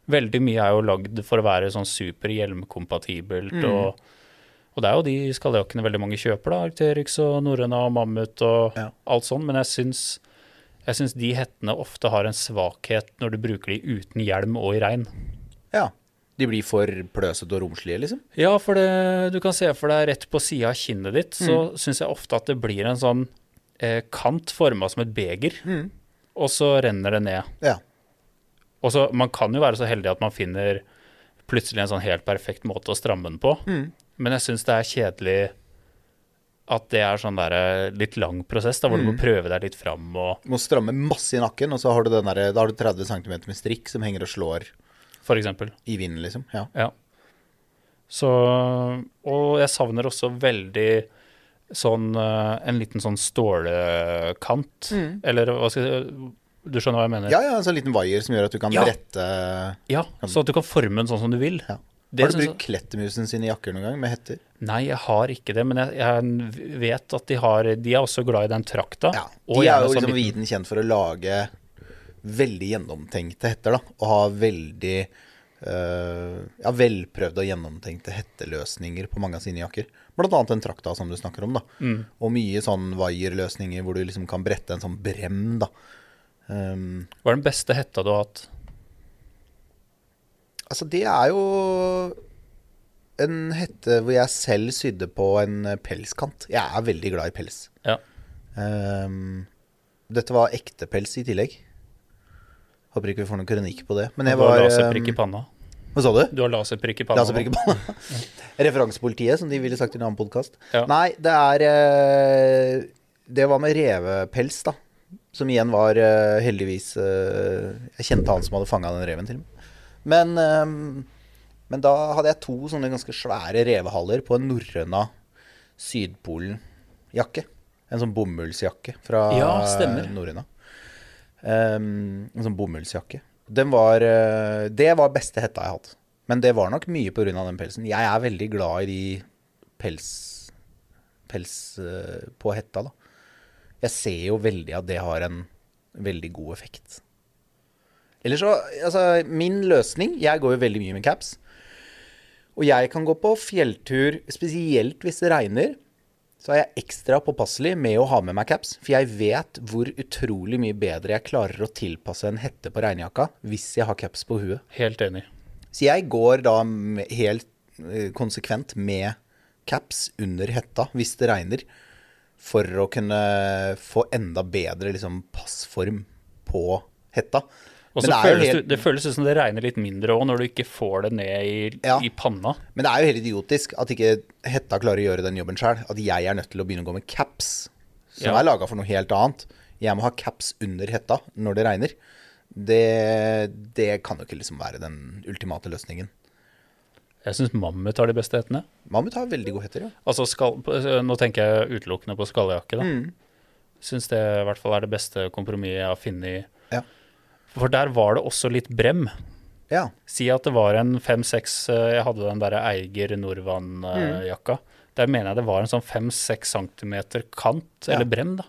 S1: Veldig mye er jo lagd for å være sånn super hjelmkompatibelt. Og, og det er jo de skalljakkene veldig mange kjøper, da. Arcterix og Norrøna og Mammut og
S2: Ja.
S1: alt sånn. Men jeg syns, jeg syns de hettene ofte har en svakhet når du bruker de uten hjelm og i regn.
S2: ja. De blir for pløsete og romslige, liksom.
S1: Ja, for det, du kan se for deg rett på sida av kinnet ditt, så syns jeg ofte at det blir en sånn eh, kant forma som et beger, og så renner det ned.
S2: Ja.
S1: Og så, Man kan jo være så heldig at man finner plutselig en sånn helt perfekt måte å stramme den på, men jeg syns det er kjedelig at det er sånn der eh, litt lang prosess, da, hvor du må prøve deg litt fram og
S2: Du må stramme masse i nakken, og så har du, den der, da har du 30 cm med strikk som henger og slår
S1: for eksempel.
S2: i vinden, liksom. Ja.
S1: Ja. Så Og jeg savner også veldig sånn eh, En liten sånn stålkant. Eller hva skal jeg si Du skjønner hva jeg mener?
S2: Mm. ja, ja, en sånn liten vaier som gjør at du kan
S1: Ja.
S2: rette
S1: Ja, så at du kan forme den sånn som du vil.
S2: ja.
S1: Det
S2: Har du
S1: synes
S2: brukt klettermusen sine jakker noen gang, med hetter?
S1: Nei, jeg har ikke det, men jeg, jeg vet at de har De er også glad i den trakta.
S2: Ja.
S1: og
S2: De er
S1: gjerne
S2: jo
S1: sånn
S2: liksom
S1: liten-
S2: viden kjent for å lage veldig gjennomtenkte hetter, da. Og ha veldig eh, ja, velprøvde og gjennomtenkte hetteløsninger på mange av sine jakker. Blant annet den trakta som du snakker om, da.
S1: Mm.
S2: Og mye sånn vaierløsninger hvor du liksom kan brette en sånn brem, da. Um,
S1: Hva er den beste hetta du har hatt?
S2: Altså, det er jo en hette hvor jeg selv sydde på en eh, pelskant. Jeg er veldig glad i pels.
S1: Ja.
S2: Ehm, dette var ekte pels i tillegg. Håper ikke vi får noen kronikk på det. Men jeg
S1: du har
S2: var
S1: laserprikk i
S2: ehm,
S1: panna.
S2: Hva sa du?
S1: Du har laserprikk i panna. nå.
S2: Laserprikk i panna. altså Referansepolitiet, som de ville sagt i en annen podkast.
S1: Ja.
S2: Nei, det er eh, Det var med revepels, da. Som igjen var eh, heldigvis eh, Jeg kjente han som hadde fanga den reven, til og med. Men, ehm, men da hadde jeg to sånne ganske svære revehaler på en norrøna Sydpolen-jakke. En sånn bomullsjakke fra
S1: Ja, stemmer.
S2: Norena. Ehm, en sånn bomullsjakke. Den var eh, Det var beste hetta jeg har hatt. Men det var nok mye pga. den pelsen. Jeg er veldig glad i de pels pels eh, på hetta, da. Jeg ser jo veldig at det har en veldig god effekt. Eller så Altså, min løsning Jeg går jo veldig mye med caps. Og jeg kan gå på fjelltur, spesielt hvis det regner. Så er jeg ekstra påpasselig med å ha med meg caps, for jeg vet hvor utrolig mye bedre jeg klarer å tilpasse en hette på regnjakka hvis jeg har caps på huet.
S1: Helt enig.
S2: Så jeg går da m- helt eh, konsekvent med caps under hetta hvis det regner, for å kunne få enda bedre liksom, passform på hetta.
S1: Og
S2: Men
S1: så
S2: det er jo
S1: føles
S2: helt-
S1: det, det føles ut som det regner litt mindre òg, når du ikke får det ned i,
S2: Ja.
S1: i panna.
S2: Men det er jo helt idiotisk at ikke Hetta klarer å gjøre den jobben sjøl. At jeg er nødt til å begynne å gå med caps, som
S1: Ja.
S2: er laga for noe helt annet. Jeg må ha caps under hetta når det regner. Det, det kan jo ikke liksom være den ultimate løsningen.
S1: Jeg syns mammut har de beste hettene.
S2: Mammut har veldig gode hetter, ja.
S1: Altså skal, på- nå tenker jeg utelukkende på skalljakke, da.
S2: Mm.
S1: Syns det i hvert fall er det beste kompromisset jeg har funnet.
S2: Ja.
S1: For der var det også litt brem.
S2: ja.
S1: Si at det var en fem-seks Jeg hadde den derre Eiger Norvan-jakka. Der mener jeg det var en sånn fem-seks centimeter kant,
S2: Ja.
S1: eller brem, da.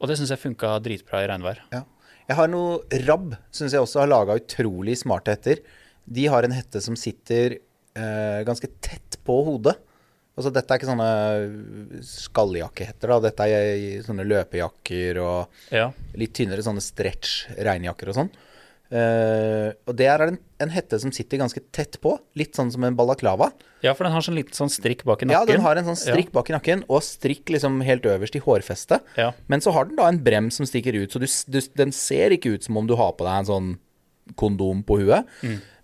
S1: Og det syns jeg funka dritbra i regnvær.
S2: Ja. Jeg har noe Rabb, syns jeg også har laga utrolig smarte hetter. De har en hette som sitter eh, ganske tett på hodet. Altså, dette er ikke sånne skalljakkehetter, da. Dette er eh, sånne løpejakker og
S1: Ja.
S2: litt tynnere sånne stretch-regnjakker og sånn. Eh, og det er en, en hette som sitter ganske tett på, litt sånn som en balaklava.
S1: ja, for den har sånn liten sånn strikk bak i
S2: Ja,
S1: nakken.
S2: den har en sånn strikk bak i nakken, og strikk liksom helt øverst i hårfestet.
S1: Ja.
S2: Men så har den da en brem som stikker ut, så du, s- du, s- den ser ikke ut som om du har på deg en sånn kondom på huet.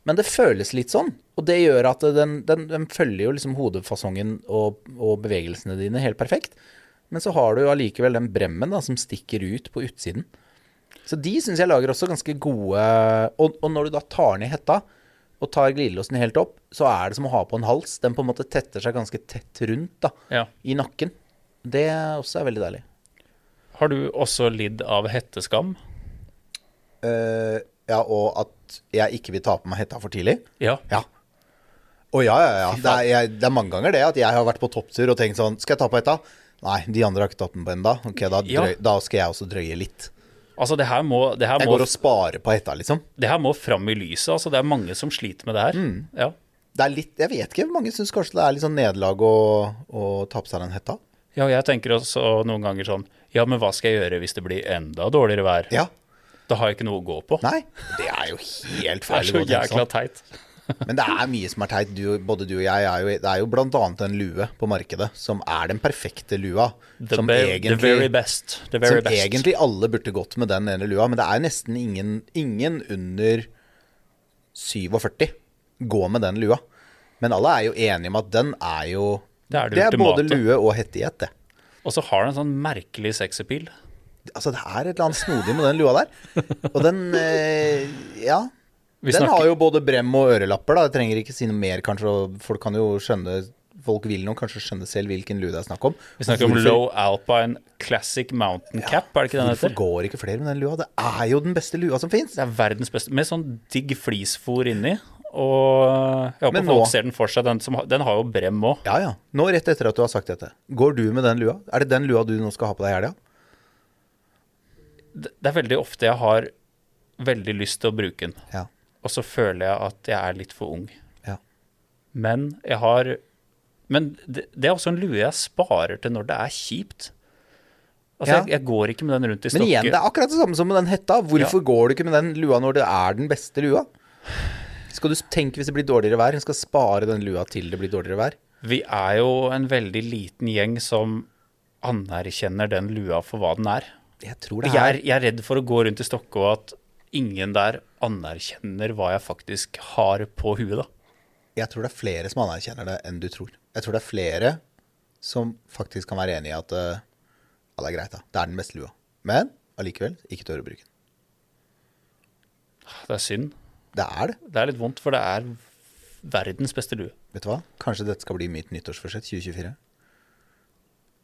S2: Men det føles litt sånn, og det gjør at den, den, den følger jo liksom hodefasongen og, og bevegelsene dine helt perfekt. Men så har du jo allikevel den bremmen da, som stikker ut på utsiden. Så de syns jeg lager også ganske gode og, og når du da tar ned hetta og tar glidelåsen helt opp, så er det som å ha på en hals. Den på en måte tetter seg ganske tett rundt da,
S1: Ja.
S2: i nakken. Det også er veldig deilig.
S1: Har du også lidd av hetteskam?
S2: Eh, ja, og at jeg ikke vil ta på meg hetta for tidlig.
S1: Ja.
S2: Ja. Å ja, ja, ja. Det er, jeg, det er mange ganger det at jeg har vært på topptur og tenkt sånn Skal jeg ta på hetta? Nei, de andre har ikke tatt den på ennå. Ok, da, drøy,
S1: Ja.
S2: da skal jeg også drøye litt.
S1: Altså, det her må, det her
S2: Jeg
S1: må,
S2: går og sparer på hetta, liksom.
S1: det her må fram i lyset. Altså, det er mange som sliter med det her.
S2: Mm.
S1: Ja.
S2: Det er litt, jeg vet ikke, mange syns kanskje det er litt sånn nederlag å, å ta på seg den hetta.
S1: ja, jeg tenker også noen ganger sånn Ja, men hva skal jeg gjøre hvis det blir enda dårligere vær?
S2: Ja.
S1: Da har jeg ikke noe å gå på.
S2: Nei. Det er jo helt
S1: det er
S2: feil. å
S1: så
S2: gå og tenke
S1: jækla teit.
S2: sånn. Men det er mye som er teit. Du, både du og jeg er jo Det er jo blant annet en lue på markedet som er den perfekte lua.
S1: The,
S2: som
S1: be the very best. The very
S2: som
S1: best.
S2: egentlig alle burde gått med den ene lua, men det er nesten ingen, ingen under 47 gå med den lua. Men alle er jo enige om at den er jo
S1: Det er det
S2: både
S1: ultimate.
S2: lue og hette i ett, det.
S1: Og så har den en sånn merkelig sexappeal.
S2: Altså, det er et eller annet snodig med den lua der. Og den eh, Ja.
S1: Vi
S2: den
S1: snakker-
S2: har jo både brem og ørelapper, da. Jeg trenger ikke si noe mer, kanskje. og Folk kan jo skjønne Folk vil nå kanskje skjønne selv hvilken lue det er snakk om.
S1: Vi snakker om
S2: Hvorfor-
S1: Low Alpine Classic Mountain Cap, er det ikke den
S2: Hvorfor
S1: heter?
S2: går ikke flere med den lua? Det er jo den beste lua som fins.
S1: Det er verdens beste, med sånn digg flisfòr inni. Og jeg håper
S2: Men nå-
S1: folk ser den for seg. Den, som, har- den har jo brem òg.
S2: Ja, ja. Nå rett etter at du har sagt dette, går du med den lua? Er det den lua du nå skal ha på deg i helga?
S1: Det det er veldig ofte jeg har veldig lyst til å bruke den,
S2: Ja.
S1: og så føler jeg at jeg er litt for ung.
S2: ja.
S1: Men jeg har Men det, det er også en lue jeg sparer til når det er kjipt. Altså,
S2: Ja.
S1: jeg, jeg går ikke med den rundt i
S2: Men
S1: stokken.
S2: igjen, det er akkurat det samme som med den hetta. Hvorfor går du ikke med den lua når det er den beste lua? Skal du tenke hvis det blir dårligere vær? Hun skal spare den lua til det blir dårligere vær.
S1: Vi er jo en veldig liten gjeng som anerkjenner den lua for hva den er.
S2: Jeg tror det
S1: Jeg er,
S2: er
S1: jeg er redd for å gå rundt i stokke og at ingen der anerkjenner hva jeg faktisk har på huet, da.
S2: Jeg tror det er flere som anerkjenner det enn du tror. Jeg tror det er flere som faktisk kan være enig i at eh, ja, det er greit, da. Det er den beste lua. Men allikevel ikke tør å bruke den.
S1: Det er synd.
S2: Det er det.
S1: Det er litt vondt, for det er verdens beste lue.
S2: Vet du hva? Kanskje dette skal bli mitt nyttårsforsett 2024.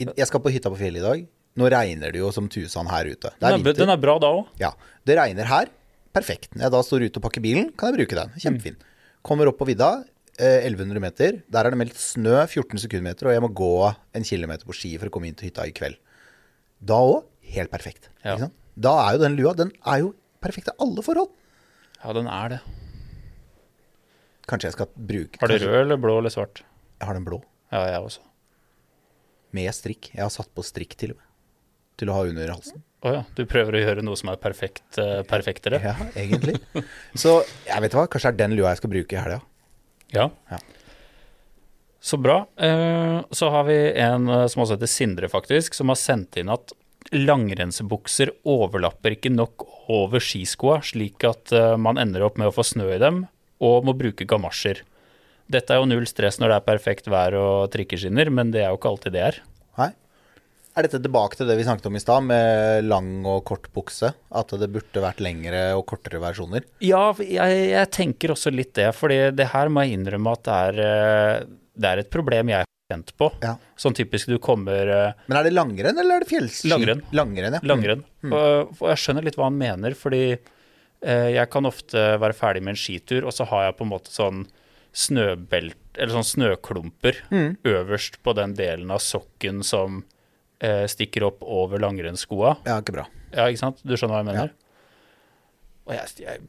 S2: I- Jeg skal på hytta på fjellet i dag. Nå regner det jo som tusan her ute. Det
S1: Den
S2: er
S1: er, b-
S2: vinter.
S1: den er bra da òg.
S2: Ja, det regner her. Perfekt. Når jeg da står ute og pakker bilen, kan jeg bruke den.
S1: Mm.
S2: Kjempefin. Kommer opp på vidda, eh, 1100 meter. Der er det meldt snø 14 sekundmeter, og jeg må gå en kilometer på ski for å komme inn til hytta i kveld. Da òg helt perfekt.
S1: Ja.
S2: Ikke sant? Da er jo den lua den er jo perfekt til alle forhold.
S1: Ja, den er det.
S2: Kanskje jeg skal bruke
S1: Har du
S2: kanskje-
S1: rød eller blå eller svart?
S2: Jeg har den blå.
S1: Ja, jeg også.
S2: Med strikk. Jeg har satt på strikk til og med. Til å ha under halsen.
S1: Å ja, du prøver å gjøre noe som er perfekt, eh, perfektere?
S2: Ja, egentlig. Så jeg vet hva, kanskje det er den lua jeg skal bruke i helga.
S1: Ja.
S2: Ja.
S1: Så bra. Eh, Så har vi en eh, som også heter Sindre, faktisk, som har sendt inn at langrennsbukser overlapper ikke nok over skiskoa, slik at eh, man ender opp med å få snø i dem og må bruke gamasjer. Dette er jo null stress når det er perfekt vær og trikkeskinner, men det er jo ikke alltid det er.
S2: Nei. Er dette tilbake til det vi snakket om i stad, med lang og kort bukse? At det burde vært lengre og kortere versjoner?
S1: Ja, jeg, jeg tenker også litt det, fordi det her må jeg innrømme at det er, eh, det er et problem jeg har kjent på.
S2: Ja.
S1: Sånn typisk du kommer eh,
S2: Men er det langrenn, eller er det fjellski?
S1: Langrenn.
S2: Langrenn, ja.
S1: Langrenn.
S2: Mm.
S1: Og, og jeg skjønner litt hva han mener, fordi eh, jeg kan ofte være ferdig med en skitur, og så har jeg på en måte sånn snøbelt, eller sånn snøklumper
S2: Mm.
S1: øverst på den delen av sokken som eh, stikker opp over langrennsskoa.
S2: Ja, ikke bra.
S1: Ja, ikke sant? Du skjønner hva jeg mener? Og jeg, jeg,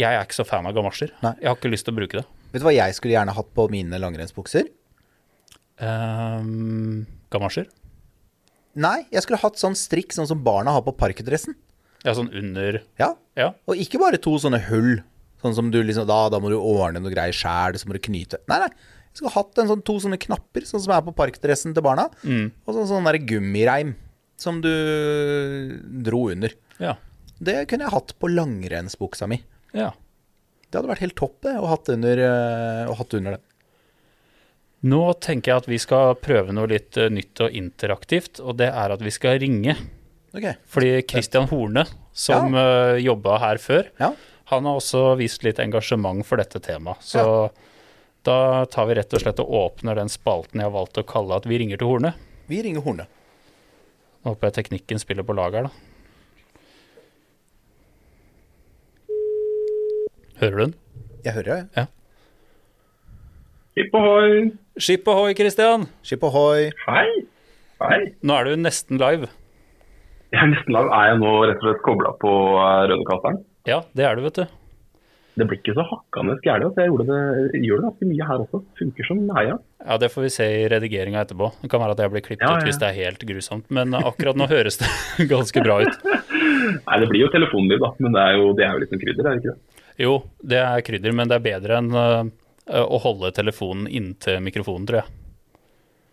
S1: jeg er ikke så fan av gamasjer.
S2: Nei.
S1: Jeg har ikke lyst til å bruke det.
S2: Vet du hva jeg skulle gjerne hatt på mine langrennsbukser?
S1: Ehm, gamasjer?
S2: Nei, jeg skulle hatt sånn strikk, sånn som barna har på parkdressen.
S1: Ja, sånn under
S2: Ja.
S1: Ja.
S2: Og ikke bare to sånne hull, sånn som du liksom Da, da må du ordne noe greier sjæl, så må du knyte Nei, nei. Jeg skulle hatt en sånn, to sånne knapper, sånn som er på parkdressen til barna. Og sånn, sånn der gummireim som du dro under.
S1: Ja.
S2: Det kunne jeg hatt på langrennsbuksa mi.
S1: ja.
S2: Det hadde vært helt topp det, å hatt under, eh, å hatt under det.
S1: Nå tenker jeg at vi skal prøve noe litt eh, nytt og interaktivt, og det er at vi skal ringe.
S2: Ok,
S1: Fordi Christian Horne, som ja. jobba her før,
S2: ja.
S1: han har også vist litt engasjement for dette temaet. Så da tar vi rett og slett og åpner den spalten jeg har valgt å kalle at vi ringer til Horne.
S2: Vi ringer Horne.
S1: Nå håper jeg teknikken spiller på lag her, da. Hører du den?
S2: Jeg hører deg.
S3: Hipp ohoi!
S1: Skip ohoi, Christian!
S2: Skip ohoi.
S3: Hei! Hei!
S1: Nå er du nesten live.
S3: Jeg er nesten lav. Er jeg nå rett og slett kobla på eh, Rødekasteren?
S1: Ja, det er du, vet du.
S3: Det blir ikke så hakkende gærent. altså. Jeg gjorde det, jeg gjør det ganske mye her også. Funker som heia.
S1: Ja, det får vi se i redigeringa etterpå. Det kan være at jeg blir klippet
S3: Ja, ja,
S1: ut
S3: ja.
S1: hvis det er helt grusomt, men akkurat nå høres det [LAUGHS] ganske bra ut.
S3: Nei, det blir jo telefonlyd, da. Men det er jo, det er jo litt som krydder, er det ikke det?
S1: Jo, det er krydder, men det er bedre enn øh, å holde telefonen inntil mikrofonen, tror jeg.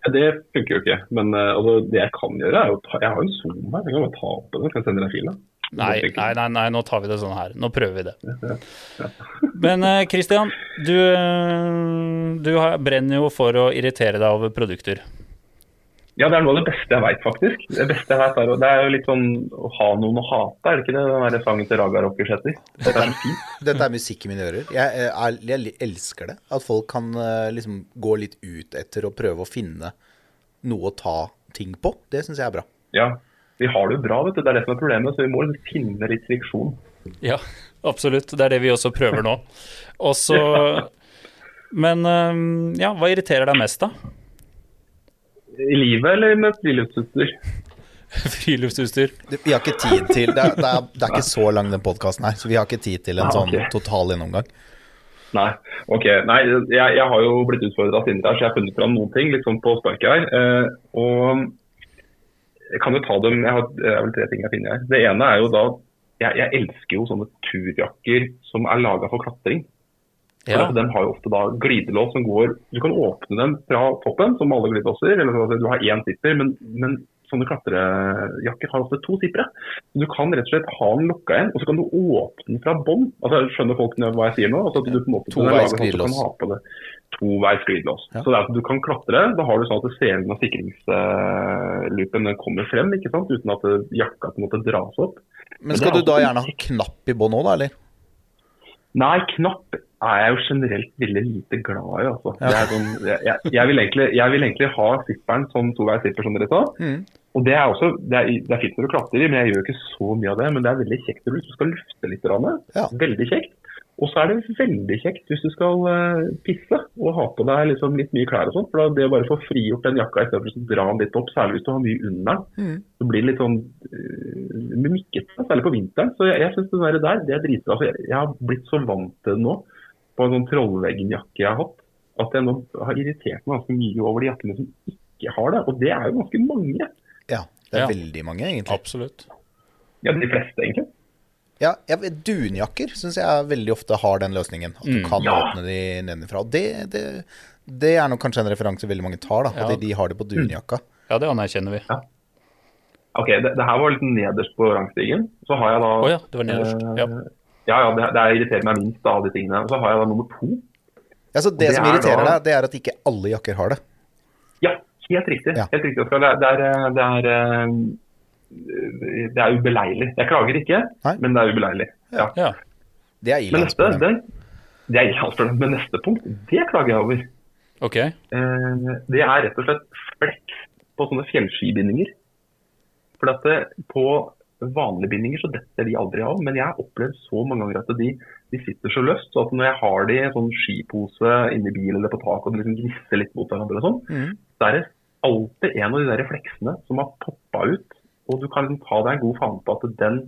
S3: Ja, Det funker jo ikke. Men eh, altså, det jeg kan gjøre, er jo å ta Jeg har jo en Zoom her. Jeg kan bare ta opp den. Kan jeg sende deg filen?
S1: Nei, nei, nei, nei, nå tar vi det sånn her. Nå prøver vi det. Men øh, Christian, du, øh, du har, brenner jo for å irritere deg over produkter.
S3: Ja, det er noe av det beste jeg veit, faktisk. Det beste jeg vet er, jo- det er jo litt sånn å ha noen å hate, er det ikke det? Den der sangen til Raga Rockers heter. Det er så fint.
S2: Dette er musikk i mine ører. Jeg, eh, er, jeg elsker det. At folk kan eh, liksom gå litt ut etter og prøve å finne noe å ta ting på. Det syns jeg er bra.
S3: Ja, vi har det jo bra, vet du. Det er det som er problemet. Så vi må liksom finne litt friksjon.
S1: Ja, absolutt. Det er det vi også prøver nå. Og så Men øh, ja, hva irriterer deg mest, da?
S3: I livet eller med friluftsutstyr?
S1: Friluftsutstyr.
S2: Det- Vi har ikke tid til Det er, det er, det er ikke så lang den podkasten her, så vi har ikke tid til en
S3: Ah,
S2: sånn
S3: ok.
S2: total gjennomgang.
S3: Nei. ok. Nei, jeg, jeg har jo blitt utfordra av Sindre her, så jeg har funnet fram noen ting litt sånn på sparket her. Eh, og jeg kan jo ta dem Jeg har det er vel tre ting jeg finner her. Det ene er jo da Jeg, jeg elsker jo sånne turjakker som er laga for klatring. For
S1: Ja.
S3: at De har jo ofte da glidelås som går Du kan åpne dem fra toppen, som alle glidelåser. eller sånn at Du har én zipper, men, men sånne klatrejakker har ofte to zippere. Du kan rett og slett ha den lukka igjen, og så kan du åpne den fra bånn. Altså, skjønner folk nå hva jeg sier nå? Altså, at du på en måte
S2: Toveis
S3: den er laget sånn at du
S2: glidelås.
S3: kan ha på det. Toveis glidelås.
S2: Ja.
S3: Så det er at du kan klatre. Da har du sånn at du ser den av sikringsloopen den kommer frem, ikke sant? uten at eh, jakka på en måte dras opp.
S2: Men skal du da gjerne ha knapp i bånn òg, da, eller?
S3: Nei, knapp er jeg jo generelt veldig lite glad i. altså. Det er sånn, jeg, jeg, jeg, vil egentlig, jeg vil egentlig ha zipperen som toveis zipper, som dere sa.
S2: Mm.
S3: Og det er også, det er, det er fint når du klatrer i, men jeg gjør ikke så mye av det. Men det er veldig kjekt når du skal lufte litt. grann.
S2: Ja.
S3: Veldig kjekt. Og så er det veldig kjekt hvis du skal eh, pisse og ha på deg liksom litt mye klær og sånt. For da det å bare få frigjort den jakka istedenfor å dra den litt opp, særlig hvis du har mye under den,
S2: Mm.
S3: så blir det litt sånn eh, mikkete, særlig på vinteren. Så jeg, jeg syns det der, der, det er dritbra. For jeg, jeg har blitt så vant til det nå, på en sånn Trollveggen-jakke jeg har hatt, at jeg nå har irritert meg ganske mye over de jakkene som ikke har det. Og det er jo ganske mange.
S2: Ja, det er
S1: Ja.
S2: veldig mange, egentlig.
S1: Absolutt.
S3: Ja, de fleste, egentlig.
S2: Ja, jeg, Dunjakker syns jeg veldig ofte har den løsningen. At du kan
S3: Mm. Ja.
S2: åpne de nedenfra. Og Det, det, det er nok kanskje en referanse veldig mange tar, da.
S1: Ja.
S2: At de, de har det på dunjakka.
S1: Ja, det anerkjenner vi.
S3: Ok, det, det her var litt nederst på rangstigen. Så har jeg da
S1: Å ja, det var nederst. Ja.
S3: Ja, ja, det, det irriterer meg minst av de tingene. Og så har jeg da nummer to.
S2: Ja, så det,
S3: det
S2: som
S3: er
S2: irriterer
S3: da-
S2: deg, det er at ikke alle jakker har det.
S3: Ja, helt riktig.
S2: Ja.
S3: Helt riktig Oskar. Det, er- det, er, eh, det, er, eh, det er ubeleilig. Jeg klager ikke,
S2: Nei.
S3: men det er ubeleilig. Ja.
S1: Ja.
S2: Det er
S3: Men
S2: Ilans
S3: neste,
S2: problem.
S3: det, det er ikke alt for dem. Men neste punkt, det klager jeg over.
S1: Ok.
S3: Eh, Det er rett og slett flekk på sånne fjellskibindinger. For at eh, på vanlige bindinger så detter de aldri av, men jeg har opplevd så mange ganger at de, de sitter så løst. Så at når jeg har de i en sånn skipose inni bilen eller på taket og de liksom gnisser litt mot hverandre, og sånn,
S2: Mhm.
S3: så er det alltid en av de der fleksene som har poppa ut. Og du kan liksom ta deg en god faen på at den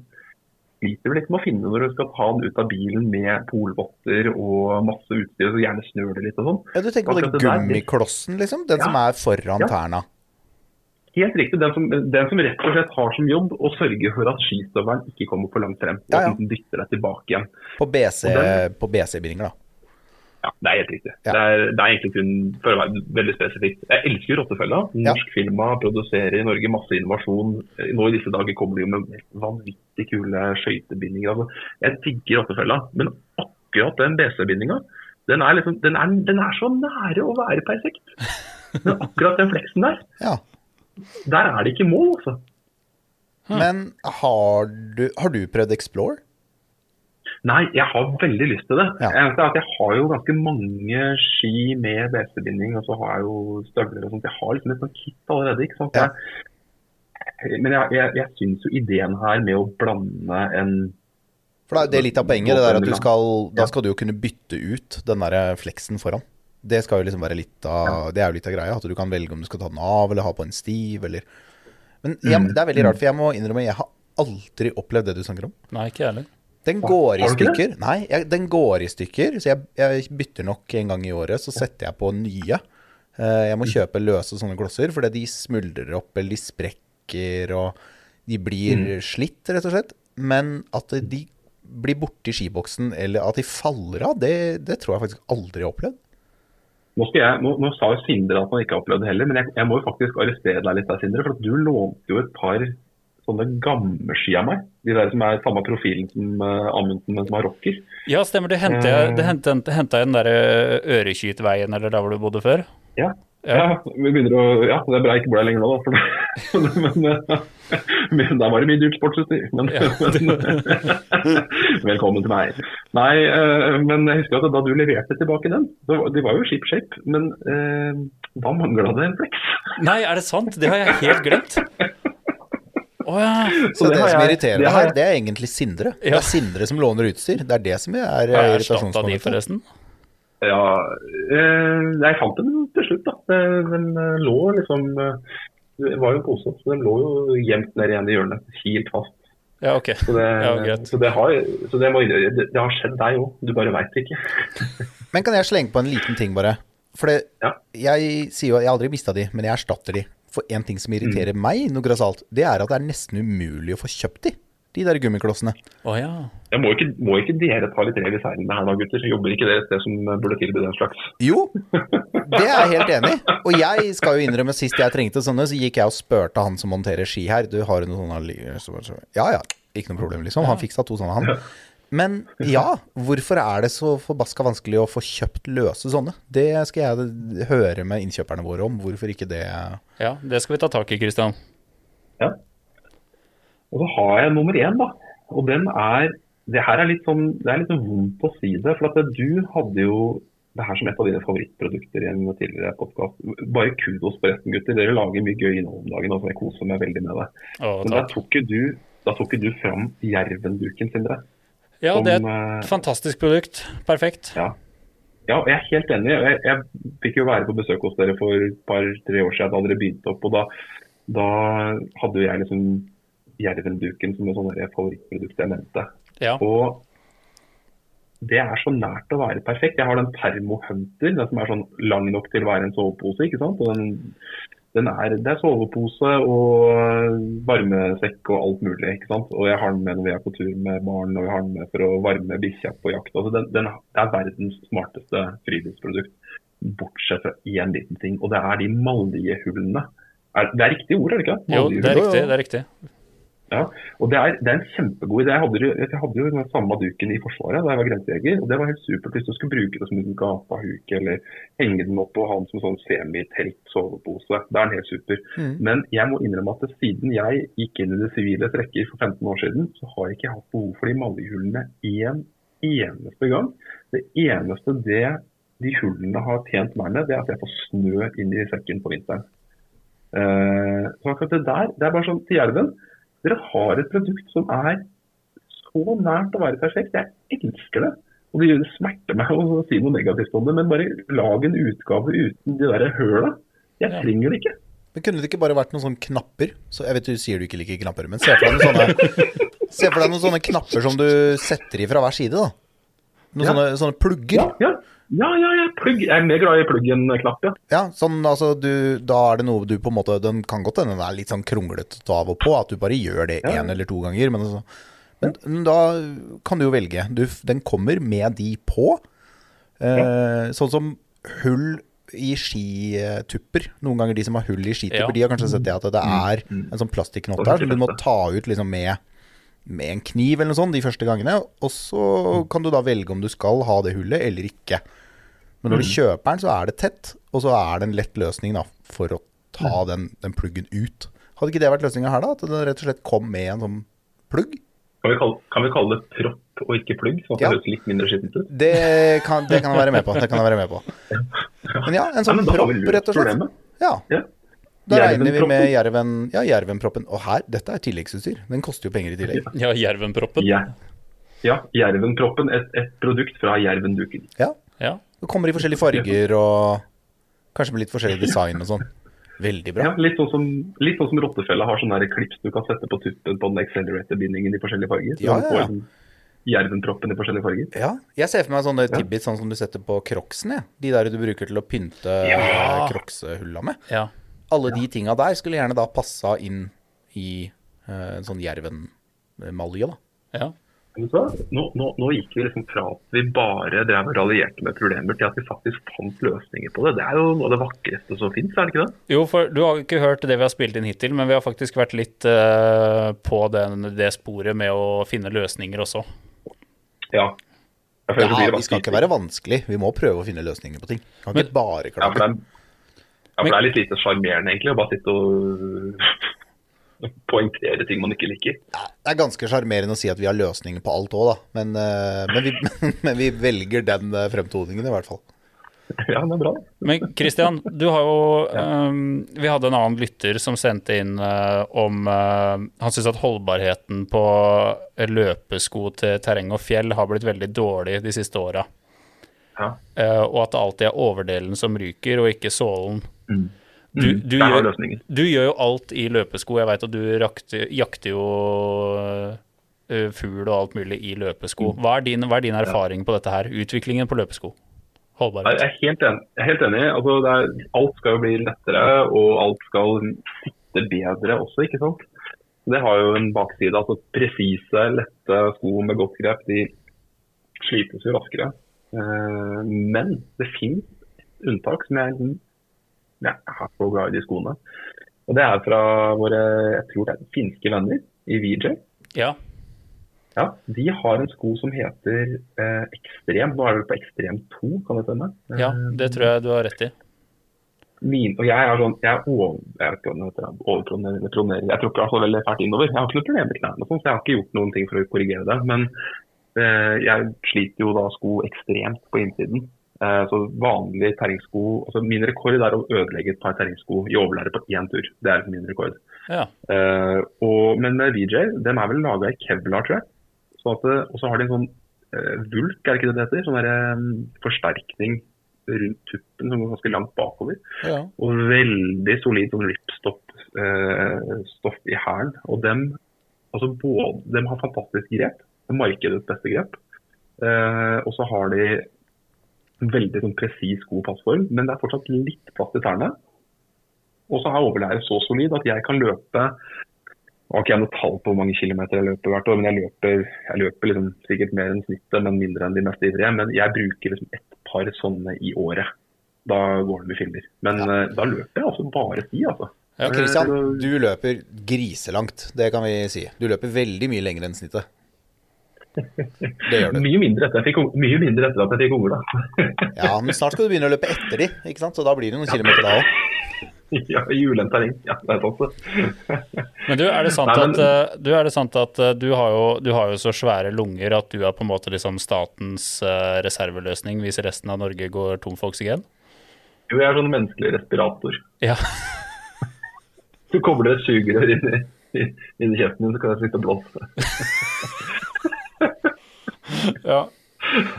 S3: sliter vel litt med å finne når du skal ta den ut av bilen med polvotter og masse utstyr, så gjerne snør det litt og sånn.
S2: Ja, du tenker på den
S3: Akkurat det der, det-
S2: gummiklossen, liksom? Den
S3: Ja.
S2: som er foran
S3: Ja.
S2: tærne.
S3: Helt riktig. Den som, den som rett og slett har som jobb å sørge for at skistøvelen ikke kommer for langt frem. Og
S2: Ja, ja.
S3: at den dytter deg tilbake igjen.
S2: På BC
S3: Og den-
S2: på BC-bindinger, da.
S3: Ja, Det er helt riktig.
S2: Ja.
S3: Det, er, det er egentlig kun for å være veldig spesifikt. Jeg elsker rottefella.
S2: Ja.
S3: Norsk firma produserer i Norge masse innovasjon. Nå i disse dager kommer de jo med vanvittig kule skøytebindinger. Altså, jeg digger rottefella, men akkurat den BC-bindinga, den, er liksom, den, er, den er så nære å være perfekt. Men akkurat den fleksen der,
S2: Ja.
S3: der er det ikke mål, altså.
S2: Men har du, har du prøvd Explore?
S3: Nei, jeg har veldig lyst til det.
S2: Ja.
S3: Jeg, vet at jeg har jo ganske mange ski med BC-binding, og så har jeg jo støvler og sånt. Jeg har liksom et sånt kit allerede. ikke sant?
S2: Ja.
S3: Jeg, men jeg, jeg, jeg syns jo ideen her med å blande en
S2: For da, det er litt av poenget, det der at du skal, da skal du jo kunne bytte ut den der eh, fleksen foran. Det skal jo liksom være litt av, det er jo litt av greia, at du kan velge om du skal ta den av, eller ha på en stiv, eller
S3: Mm.
S2: Men jeg, det er veldig rart, for jeg må innrømme, jeg har aldri opplevd det du snakker om.
S1: Nei, ikke jeg heller.
S2: Den går i
S3: Har du ikke
S2: stykker. Nei, jeg, den går i stykker, så jeg, jeg bytter nok en gang i året, så setter jeg på nye. Eh,
S3: Mm.
S2: Jeg må kjøpe løse sånne glosser, fordi de smuldrer opp, eller de sprekker, og de blir
S3: Mm.
S2: slitt, rett og slett. Men at de blir borte i skiboksen, eller at de faller av, det, det tror jeg faktisk aldri jeg har opplevd.
S3: Nå, skal jeg, nå, nå sa jo Sindre at han ikke har opplevd det heller, men jeg, jeg må jo faktisk arrestere deg litt der, Sindre. For at du lånte jo et par sånne gamle ski av meg. De der som er samme profilen som eh, Amundsen, men som har rocker.
S1: Ja, stemmer. Det henta jeg, det hent- hent- hentet jeg den derre Ørekytveien eller der hvor du bodde før.
S3: Ja.
S1: Ja.
S3: Ja. vi begynner å, ja, det er bra jeg ikke bor der lenger nå, da. For, [LAUGHS] men, eh, men der var det mye dyrt sportsutstyr. Men, [LAUGHS] men [LAUGHS] velkommen til meg. Nei, eh, men jeg husker at da du leverte tilbake den, så var- de var jo ship shape, men eh, da mangla det en fleks.
S1: Nei, er det sant? Det har jeg helt glemt. Å ja.
S2: Så det,
S3: har
S2: som
S3: jeg-
S2: irriterer
S3: det
S2: deg
S3: har
S2: her,
S3: jeg-
S2: det er egentlig Sindre. Det
S1: Ja.
S2: er Sindre som låner utstyr. Det er det som er
S1: Har
S2: eh,
S1: jeg erstatta de,
S2: irritasjonsmomentet.
S1: forresten?
S3: Ja, eh, jeg fant den til slutt, da. Eh, Den eh, lå liksom eh, Det var jo en pose, så den lå jo gjemt nede igjen i hjørnet, helt fast.
S1: Ja, ok.
S3: Så det,
S1: Ja, greit.
S3: så det, har, så det, må, det, det har skjedd deg òg, du bare veit ikke.
S2: Men kan jeg slenge på en liten ting, bare? For det,
S3: Ja.
S2: jeg sier jo at jeg aldri mista de, men jeg erstatter de. For en ting som irriterer meg noe grassat, det er at det er nesten umulig å få kjøpt de. De der gummiklossene.
S1: Å ja.
S3: Jeg må, ikke, må ikke dere ta litt rev i seilene her da, gutter? Jobber ikke dere et sted som burde tilby den slags?
S2: Jo, det er jeg helt enig i. Og jeg skal jo innrømme, sist jeg trengte sånne, så gikk jeg og spurte han som monterer ski her. Du har jo noen sånne li- så- så- Ja ja, ikke noe problem, liksom. Han fiksa to sånne, han. Men ja, hvorfor er det så forbaska vanskelig å få kjøpt løse sånne? Det skal jeg høre med innkjøperne våre om, hvorfor ikke det
S1: ja. Det skal vi ta tak i, Christian.
S3: Ja. Og så har jeg nummer én, da. Og den er det her er litt sånn, det er litt sånn vondt å si det. For at eh, du hadde jo det her som et av dine favorittprodukter i en tidligere podkast. Bare kudos forresten, gutter. Dere lager mye gøy innhold om dagen. Altså, jeg koser meg veldig med det.
S1: Å,
S3: Men da
S1: takk.
S3: tok jo du, da tok jo du fram Jervenduken, Sindre.
S1: Ja, det er
S3: som, eh,
S1: et fantastisk produkt. Perfekt.
S3: Ja. ja, og jeg er helt enig. Jeg, jeg fikk jo være på besøk hos dere for et par-tre år siden da dere begynte opp. og Da, da hadde jo jeg liksom Jervenduken som et sånt der favorittprodukt jeg nevnte.
S1: Ja.
S3: Og det er så nært å være perfekt. Jeg har den Thermo Hunter, den som er sånn lang nok til å være en sovepose. ikke sant? Og den, den er, det er sovepose og varmesekk og alt mulig. ikke sant? Og jeg har den med når vi er på tur med barn, og jeg har den med for å varme bikkja på jakt. Altså den, den det er verdens smarteste friluftsprodukt, bortsett fra én liten ting, og det er de maljehullene. Er, det er riktig ord, er det ikke?
S1: Jo, det er
S3: Maljehull.
S1: riktig. Det er riktig.
S3: Ja, og det er, det er en kjempegod idé. Jeg hadde, jo- jeg hadde jo den samme duken i Forsvaret da jeg var grensejeger. og Det var helt supert hvis du skulle bruke det som en gapahuk eller henge den opp og ha den som sånn semitelt sovepose. Det er den helt super.
S2: Mm.
S3: Men jeg må innrømme at siden jeg gikk inn i det sivile rekker for 15 år siden, så har jeg ikke hatt behov for de maljehullene en eneste gang. Det eneste det de hullene har tjent meg med, det er at jeg får snø inn i sekken på vinteren. Eh, så akkurat det der, det er bare sånn til jerven. Dere har et produkt som er så nært å være perfekt. Jeg elsker det. Og det gjør- det smerter meg [LAUGHS] å si noe negativt om det, men bare lag en utgave uten de der høla. Jeg
S1: Ja.
S3: trenger det ikke.
S2: Men kunne det ikke bare vært noen sånne knapper? Så jeg vet du sier du ikke liker knapper, men se for deg noen sånne, [LAUGHS] se for deg noen sånne knapper som du setter i fra hver side, da. Noen
S3: Ja.
S2: sånne, sånne plugger.
S3: Ja, ja, ja, ja, ja plugg. Jeg er mer glad i pluggen-knapp, ja.
S2: Ja, sånn altså du, Da er det noe du på en måte Den kan godt hende den er litt sånn kronglete å ta av og på, at du bare gjør det
S3: Ja.
S2: én eller to ganger. Men, altså, men, men da kan du jo velge. Du, f- den kommer med de på. Eh, Sånn som hull i skitupper. Noen ganger de som har hull i
S1: Ja.
S2: skitupper, de har kanskje sett det at det
S3: Mm.
S2: er en sånn plastikknott der som du må ta ut liksom med med en kniv eller noe sånt de første gangene, og
S3: Mm.
S2: så kan du da velge om du skal ha det hullet eller ikke. Men
S3: Mm.
S2: når du kjøper den, så er det tett, og så er det en lett løsning da, for å
S3: Mm.
S2: ta den, den pluggen ut. Hadde ikke det vært løsninga her, da? At den rett og slett kom med en sånn plugg?
S3: Kan vi kalle, kan vi kalle det propp og ikke plugg, sånn at
S2: Ja.
S3: det høres litt mindre skittent ut?
S2: Det kan, det kan jeg være med på. Det kan jeg være med på. Men ja, en
S3: [LAUGHS] Ja,
S2: sånn
S3: men da har
S2: propp,
S3: vi løst
S2: rett og slett.
S3: problemet.
S2: Ja,
S3: Ja.
S2: Da regner vi med jerven,
S3: Jervenproppen.
S2: ja, jervenproppen. Og her, dette er tilleggsutstyr. Den koster jo penger i tillegg.
S1: Ja, Jervenproppen.
S3: Ja, ja Jervenproppen. Et, et produkt fra Jervenduken.
S2: Ja,
S1: Ja.
S2: Det kommer i forskjellige farger og kanskje med litt forskjellig design og sånn. Veldig bra.
S3: Ja, litt sånn som, litt sånn som rottefella har sånne der klips du kan sette på tuppen på den accelerator-bindingen i forskjellige farger. Så
S2: Ja,
S3: du
S2: ja,
S3: får
S2: ja.
S3: liksom Jervenproppen i forskjellige farger.
S2: Ja, jeg ser for meg sånne tibbits sånn som du setter på crocsene. jeg. De der du bruker til å pynte
S1: Ja.
S2: eh, crocshulla med.
S1: ja.
S2: Alle de tinga der skulle gjerne da passa inn i eh, en sånn jervenmalje, da.
S1: ja.
S3: Vet du hva? Nå, nå, nå gikk vi liksom fra at vi bare drev og raljerte med problemer, til at vi faktisk fant løsninger på det. Det er jo noe av det vakreste som fins, er det ikke det?
S1: Jo, for du har ikke hørt det vi har spilt inn hittil, men vi har faktisk vært litt eh, på den, det sporet med å finne løsninger også.
S3: Ja. Jeg føler det
S2: Ja,
S3: blir
S2: vi skal ikke være
S3: vanskelig.
S2: vanskelig. Vi må prøve å finne løsninger på ting. Kan
S1: Men-
S2: ikke bare
S3: Ja, for det
S2: klage.
S3: er, ja, for det er litt lite sjarmerende, egentlig, å bare sitte og [LAUGHS] poengtere ting man ikke liker. [LAUGHS]
S2: Ja, Det er ganske sjarmerende å si at vi har løsninger på alt òg, da. Men, eh, men, vi, [LAUGHS] men vi velger den eh, fremtoningen, i hvert fall.
S3: Ja, det er bra.
S1: Men Christian, du har jo ehm, Vi hadde en annen lytter som sendte inn eh, om eh, Han syns at holdbarheten på løpesko til terreng og fjell har blitt veldig dårlig de siste åra.
S3: Ja.
S1: Eh, og at det alltid er overdelen som ryker, og ikke sålen. Du, du,
S3: Mm. Der har
S1: gjør,
S3: løsningen.
S1: du gjør jo alt i løpesko. Jeg veit at du rakte, jakter jo eh, fugl og alt mulig i
S3: Mm.
S1: løpesko. Hva er din, hva er din erfaring på dette her? Utviklingen på løpesko?
S3: Jeg
S1: Holdbarhet?
S3: er helt enig. Jeg er helt enig. Altså, det er, alt skal jo bli lettere, og alt skal sitte bedre også, ikke sant. Det har jo en bakside. altså Presise, lette sko med godt grep de slites jo raskere. Eh, Men det finnes et unntak som jeg, jeg er så glad i de skoene. Og Det er fra våre jeg tror det er finske venner i VJ.
S1: Ja.
S3: Ja, De har en sko som heter eh, Ekstrem. Nå er det vel på Ekstrem 2, kan det stemme? Eh,
S1: ja, det tror jeg du har rett i.
S3: min, og jeg er sånn, jeg er over, jeg vet ikke om det heter det, overproner- eller proner- jeg tråkker altså veldig fælt innover. Jeg har ikke noe problem med knærne, og sånn, så jeg har ikke gjort noen ting for å korrigere det. Men eh, jeg sliter jo da sko ekstremt på innsiden. Eh, så vanlige terrengsko altså Min rekord er å ødelegge et par terrengsko i overlære på én tur. Det er min rekord.
S1: Ja.
S3: Eh, og, men med VJ, dem er vel laga i kevlar, tror jeg. Sånn at, det- og så har de en sånn eh, vulk, er det ikke det det heter? Sånn der, eh, forsterkning rundt tuppen som går ganske langt bakover.
S2: Ja.
S3: Og veldig solid sånn ripstop-stoff i hælen. Og dem, altså både, dem har fantastisk grep. Det er Markedets beste grep. Eh, og så har de en veldig sånn presis god passform, men det er fortsatt litt plass til tærne. Og så er overlæret så solid at jeg kan løpe Jeg har ikke jeg noe tall på hvor mange kilometer jeg løper hvert år, men jeg løper, jeg løper liksom sikkert mer enn snittet, men mindre enn de mest ivrige. Men jeg bruker liksom et par sånne i året. Da går det med filmer. Men eh, da løper jeg altså bare sti, altså.
S1: Ja,
S2: Kristian, eh, du løper griselangt, det kan vi si. Du løper veldig mye lenger enn snittet. Det gjør du.
S3: Mye mindre etter, jeg fikk, ung- mye mindre etter at jeg fikk [LAUGHS] unger, da.
S2: Ja, men snart skal du begynne å løpe etter de, ikke sant? Så da blir det noen kilometer da òg.
S3: ja, I ulendt terreng. Ja, det er sant, det.
S1: Men du, er det sant
S3: Nei,
S1: at,
S3: men-
S1: eh, du, er det sant at eh, du, har jo, du har jo så svære lunger at du er på en måte liksom statens eh, reserveløsning hvis resten av Norge går tom for oksygen?
S3: Jo, jeg er sånn menneskelig respirator.
S1: [LAUGHS] Ja.
S3: Du kobler et sugerør inn i, inn- inn i kjeften din, så kan jeg sitte og blåse.
S1: ja.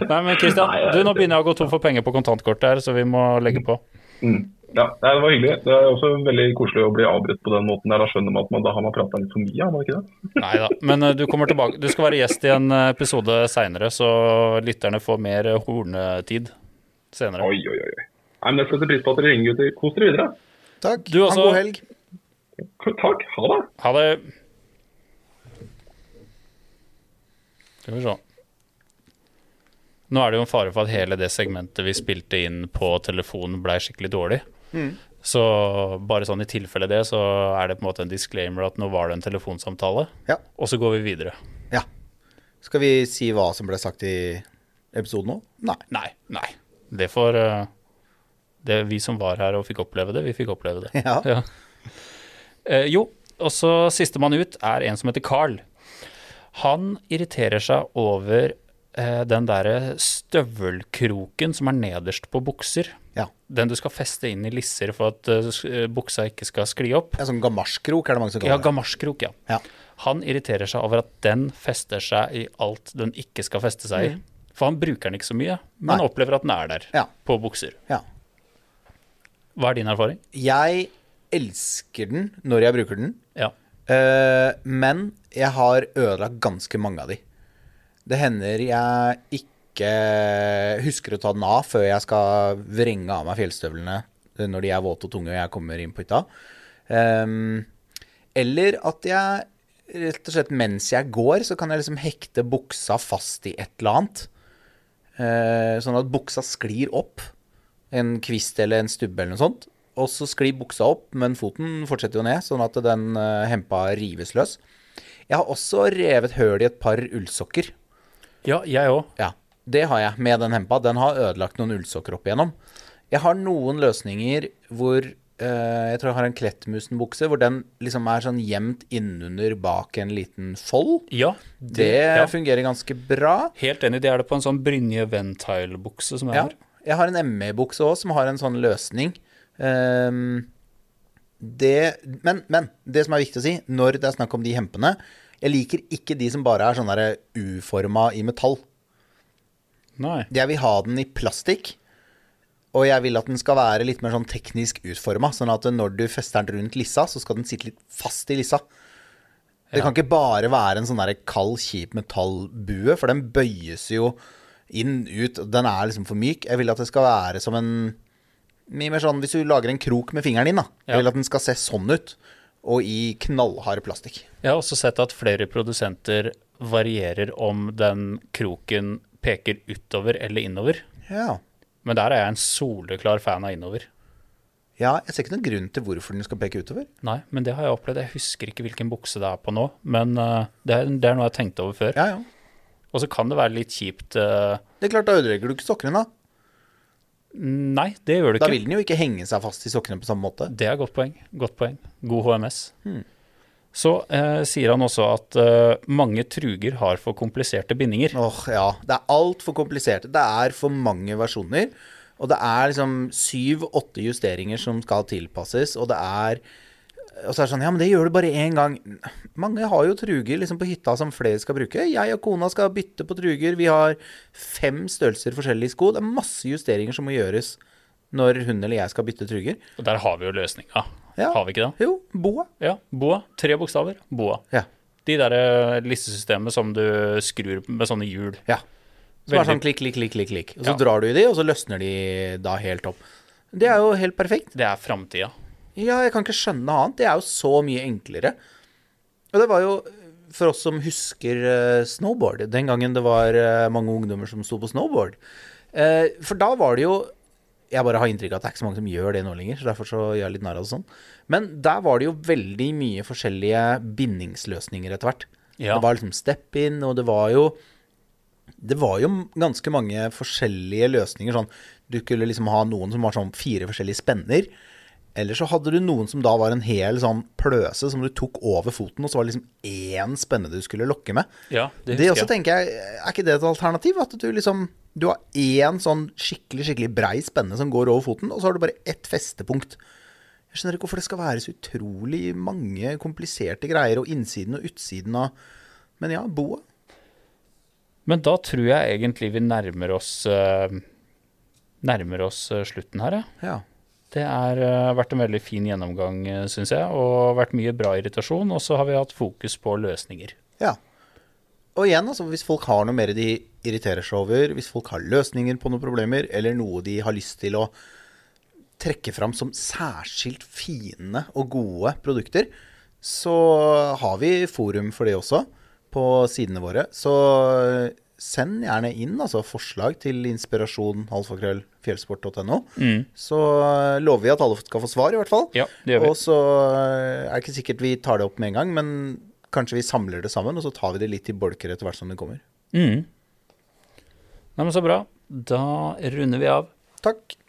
S1: Nei, men Kristian,
S3: [LAUGHS] Nei, jeg-
S1: du, nå begynner jeg å gå tom for penger på kontantkortet her, så vi må legge på.
S3: Mm. Ja, nei, Det var hyggelig. Det er også veldig koselig å bli avbrutt på den måten. der. Da skjønner man at man, da har man prata litt for mye, har man ikke det?
S1: Nei da. Men eh, du kommer tilbake. Du skal være gjest i en eh, episode seinere, så lytterne får mer eh, hornetid senere.
S3: Oi, oi, oi. Nei, men Jeg setter pris på at dere ringer, gutter. Kos dere videre.
S2: Takk.
S1: Du
S2: Ha
S1: også.
S2: en god helg.
S3: Takk. Ha det.
S1: Ha det. Skal vi se. Nå er det jo en fare for at hele det segmentet vi spilte inn på telefonen, blei skikkelig dårlig. Så bare sånn i tilfelle det, så er det på en måte en disclaimer at nå var det en telefonsamtale.
S2: Ja.
S1: Og så går vi videre.
S2: Ja. Skal vi si hva som ble sagt i episoden nå? Nei.
S1: Nei. Nei. Det får eh, Det er vi som var her og fikk oppleve det, vi fikk oppleve det.
S2: [LAUGHS] Ja.
S1: Ja. Eh, jo, og så sistemann ut er en som heter Carl. Han irriterer seg over eh, den derre støvelkroken som er nederst på bukser.
S2: Ja.
S1: Den du skal feste inn i lisser for at eh, s- eh, buksa ikke skal skli opp.
S2: En sånn gamasjkrok er det mange som
S1: Ja,
S2: kaller det.
S1: gamasjkrok, ja.
S2: Ja.
S1: Han irriterer seg over at den fester seg i alt den ikke skal feste seg i. For han bruker den ikke så mye, men
S2: Mm. Nei.
S1: opplever at den er der,
S2: Ja.
S1: på bukser.
S2: Ja.
S1: Hva er din erfaring?
S2: Jeg elsker den når jeg bruker den,
S1: Ja.
S2: eh, men jeg har ødelagt ganske mange av de. Det hender jeg ikke husker å ta den av før jeg skal vrenge av meg fjellstøvlene eh, når de er våte og tunge og jeg kommer inn på hytta. Ehm, eller at jeg rett og slett mens jeg går, så kan jeg liksom hekte buksa fast i et eller annet. Eh, sånn at buksa sklir opp. En kvist eller en stubbe eller noe sånt. Og så sklir buksa opp, men foten fortsetter jo ned, sånn at den eh, hempa rives løs. Jeg har også revet høl i et par ullsokker.
S1: Ja, jeg òg.
S2: Ja, det har jeg med den hempa. Den har ødelagt noen ullsokker opp igjennom. Jeg har noen løsninger hvor eh, Jeg tror jeg har en Klettmusen-bukse hvor den liksom er sånn gjemt innunder bak en liten fold.
S1: Ja,
S2: Det,
S1: ja.
S2: fungerer ganske bra.
S1: Helt enig, det er det på en sånn Brynje Ventile-bukse som jeg
S2: Ja.
S1: har.
S2: Jeg har en ME-bukse òg som har en sånn løsning. Ehm, det, men, men det som er viktig å si når det er snakk om de hempene Jeg liker ikke de som bare er sånn der U-forma i metall.
S1: Nei.
S2: Jeg vil ha den i plastikk. Og jeg vil at den skal være litt mer sånn teknisk utforma, sånn at når du fester den rundt lissa, så skal den sitte litt fast i lissa. Det kan ikke bare være en sånn der kald, kjip metallbue, for den bøyes jo inn, ut, og den er liksom for myk. Jeg vil at det skal være som en Mye mer sånn hvis du lager en krok med fingeren din, da.
S1: Ja.
S2: Jeg vil at den skal se sånn ut, og i knallhard plastikk.
S1: Jeg har også sett at flere produsenter varierer om den kroken peker utover eller innover.
S2: Ja.
S1: Men der er jeg en soleklar fan av innover.
S2: ja. Jeg ser ikke noen grunn til hvorfor den skal peke utover.
S1: Nei, men det har jeg opplevd. Jeg husker ikke hvilken bukse det er på nå, men eh, det, er, det er noe jeg har tenkt over før.
S2: Ja, ja.
S1: Og så kan det være litt kjipt eh,
S2: Det er klart, da ødelegger du ikke stokkene, da.
S1: Nei, det gjør det
S2: Da
S1: ikke.
S2: vil den jo ikke henge seg fast i sokkene på samme måte. Hmm.
S1: Det er godt poeng. Godt poeng. God HMS. Så eh, sier han også at eh, mange truger har for kompliserte bindinger.
S2: Åh, ja. Det er altfor komplisert. Det er for mange versjoner. Og det er liksom syv-åtte justeringer som skal tilpasses, og det er og så er det sånn Ja, men det gjør du bare én gang. Mange har jo truger liksom på hytta som flere skal bruke. Jeg og kona skal bytte på truger. Vi har fem størrelser forskjellig i sko. Det er masse justeringer som må gjøres når hun eller jeg skal bytte truger.
S1: Og der har vi jo løsninga.
S2: Ja.
S1: Har vi ikke det?
S2: Jo, boa.
S1: Ja. Boa. Tre bokstaver. Boa.
S2: Ja.
S1: De derre listesystemet som du skrur med sånne hjul.
S2: Ja. Så bare
S1: Veldig-
S2: sånn klikk, klikk, klikk, klikk, klikk. Og så
S1: Ja.
S2: drar du i de, og så løsner de da helt opp. Det er jo helt perfekt.
S1: Det er framtida.
S2: Ja, jeg kan ikke skjønne annet. Det er jo så mye enklere. Og det var jo for oss som husker eh, snowboard, den gangen det var eh, mange ungdommer som sto på snowboard. Eh, For da var det jo Jeg bare har inntrykk av at det er ikke så mange som gjør det nå lenger, så derfor så gjør jeg litt narr av det sånn. Men der var det jo veldig mye forskjellige bindingsløsninger etter hvert.
S1: Ja.
S2: Det var liksom step-in, og det var jo det var jo ganske mange forskjellige løsninger. Sånn, du kunne liksom ha noen som var sånn fire forskjellige spenner. Eller så hadde du noen som da var en hel sånn pløse som du tok over foten, og så var det liksom én spenne du skulle lokke med.
S1: Ja,
S2: Det,
S1: det husker
S2: også
S1: jeg.
S2: tenker jeg, Er ikke det et alternativ? At du liksom Du har én sånn skikkelig skikkelig brei spenne som går over foten, og så har du bare ett festepunkt. Jeg skjønner ikke hvorfor det skal være så utrolig mange kompliserte greier, og innsiden og utsiden av Men ja, boa.
S1: Men da tror jeg egentlig vi nærmer oss eh, Nærmer oss eh, slutten her, ja.
S2: Ja.
S1: Det har eh, vært en veldig fin gjennomgang, uh, syns jeg. Og vært mye bra irritasjon. Og så har vi hatt fokus på løsninger.
S2: Ja. Og igjen, altså, hvis folk har noe mer de irriterer seg over, hvis folk har løsninger på noen problemer, eller noe de har lyst til å trekke fram som særskilt fine og gode produkter, så har vi forum for det også på sidene våre. Så send gjerne inn altså, forslag til inspirasjon alfakrøllfjellsport.no. Så lover vi at alle skal få svar, i hvert fall.
S1: Mm. Ja, det gjør vi.
S2: Og så eh, er det ikke sikkert vi tar det opp med en gang, men kanskje vi samler det sammen, og så tar vi det litt i bolker etter hvert som det kommer.
S1: Mm. Nei, men så bra. Da runder vi av.
S2: Takk.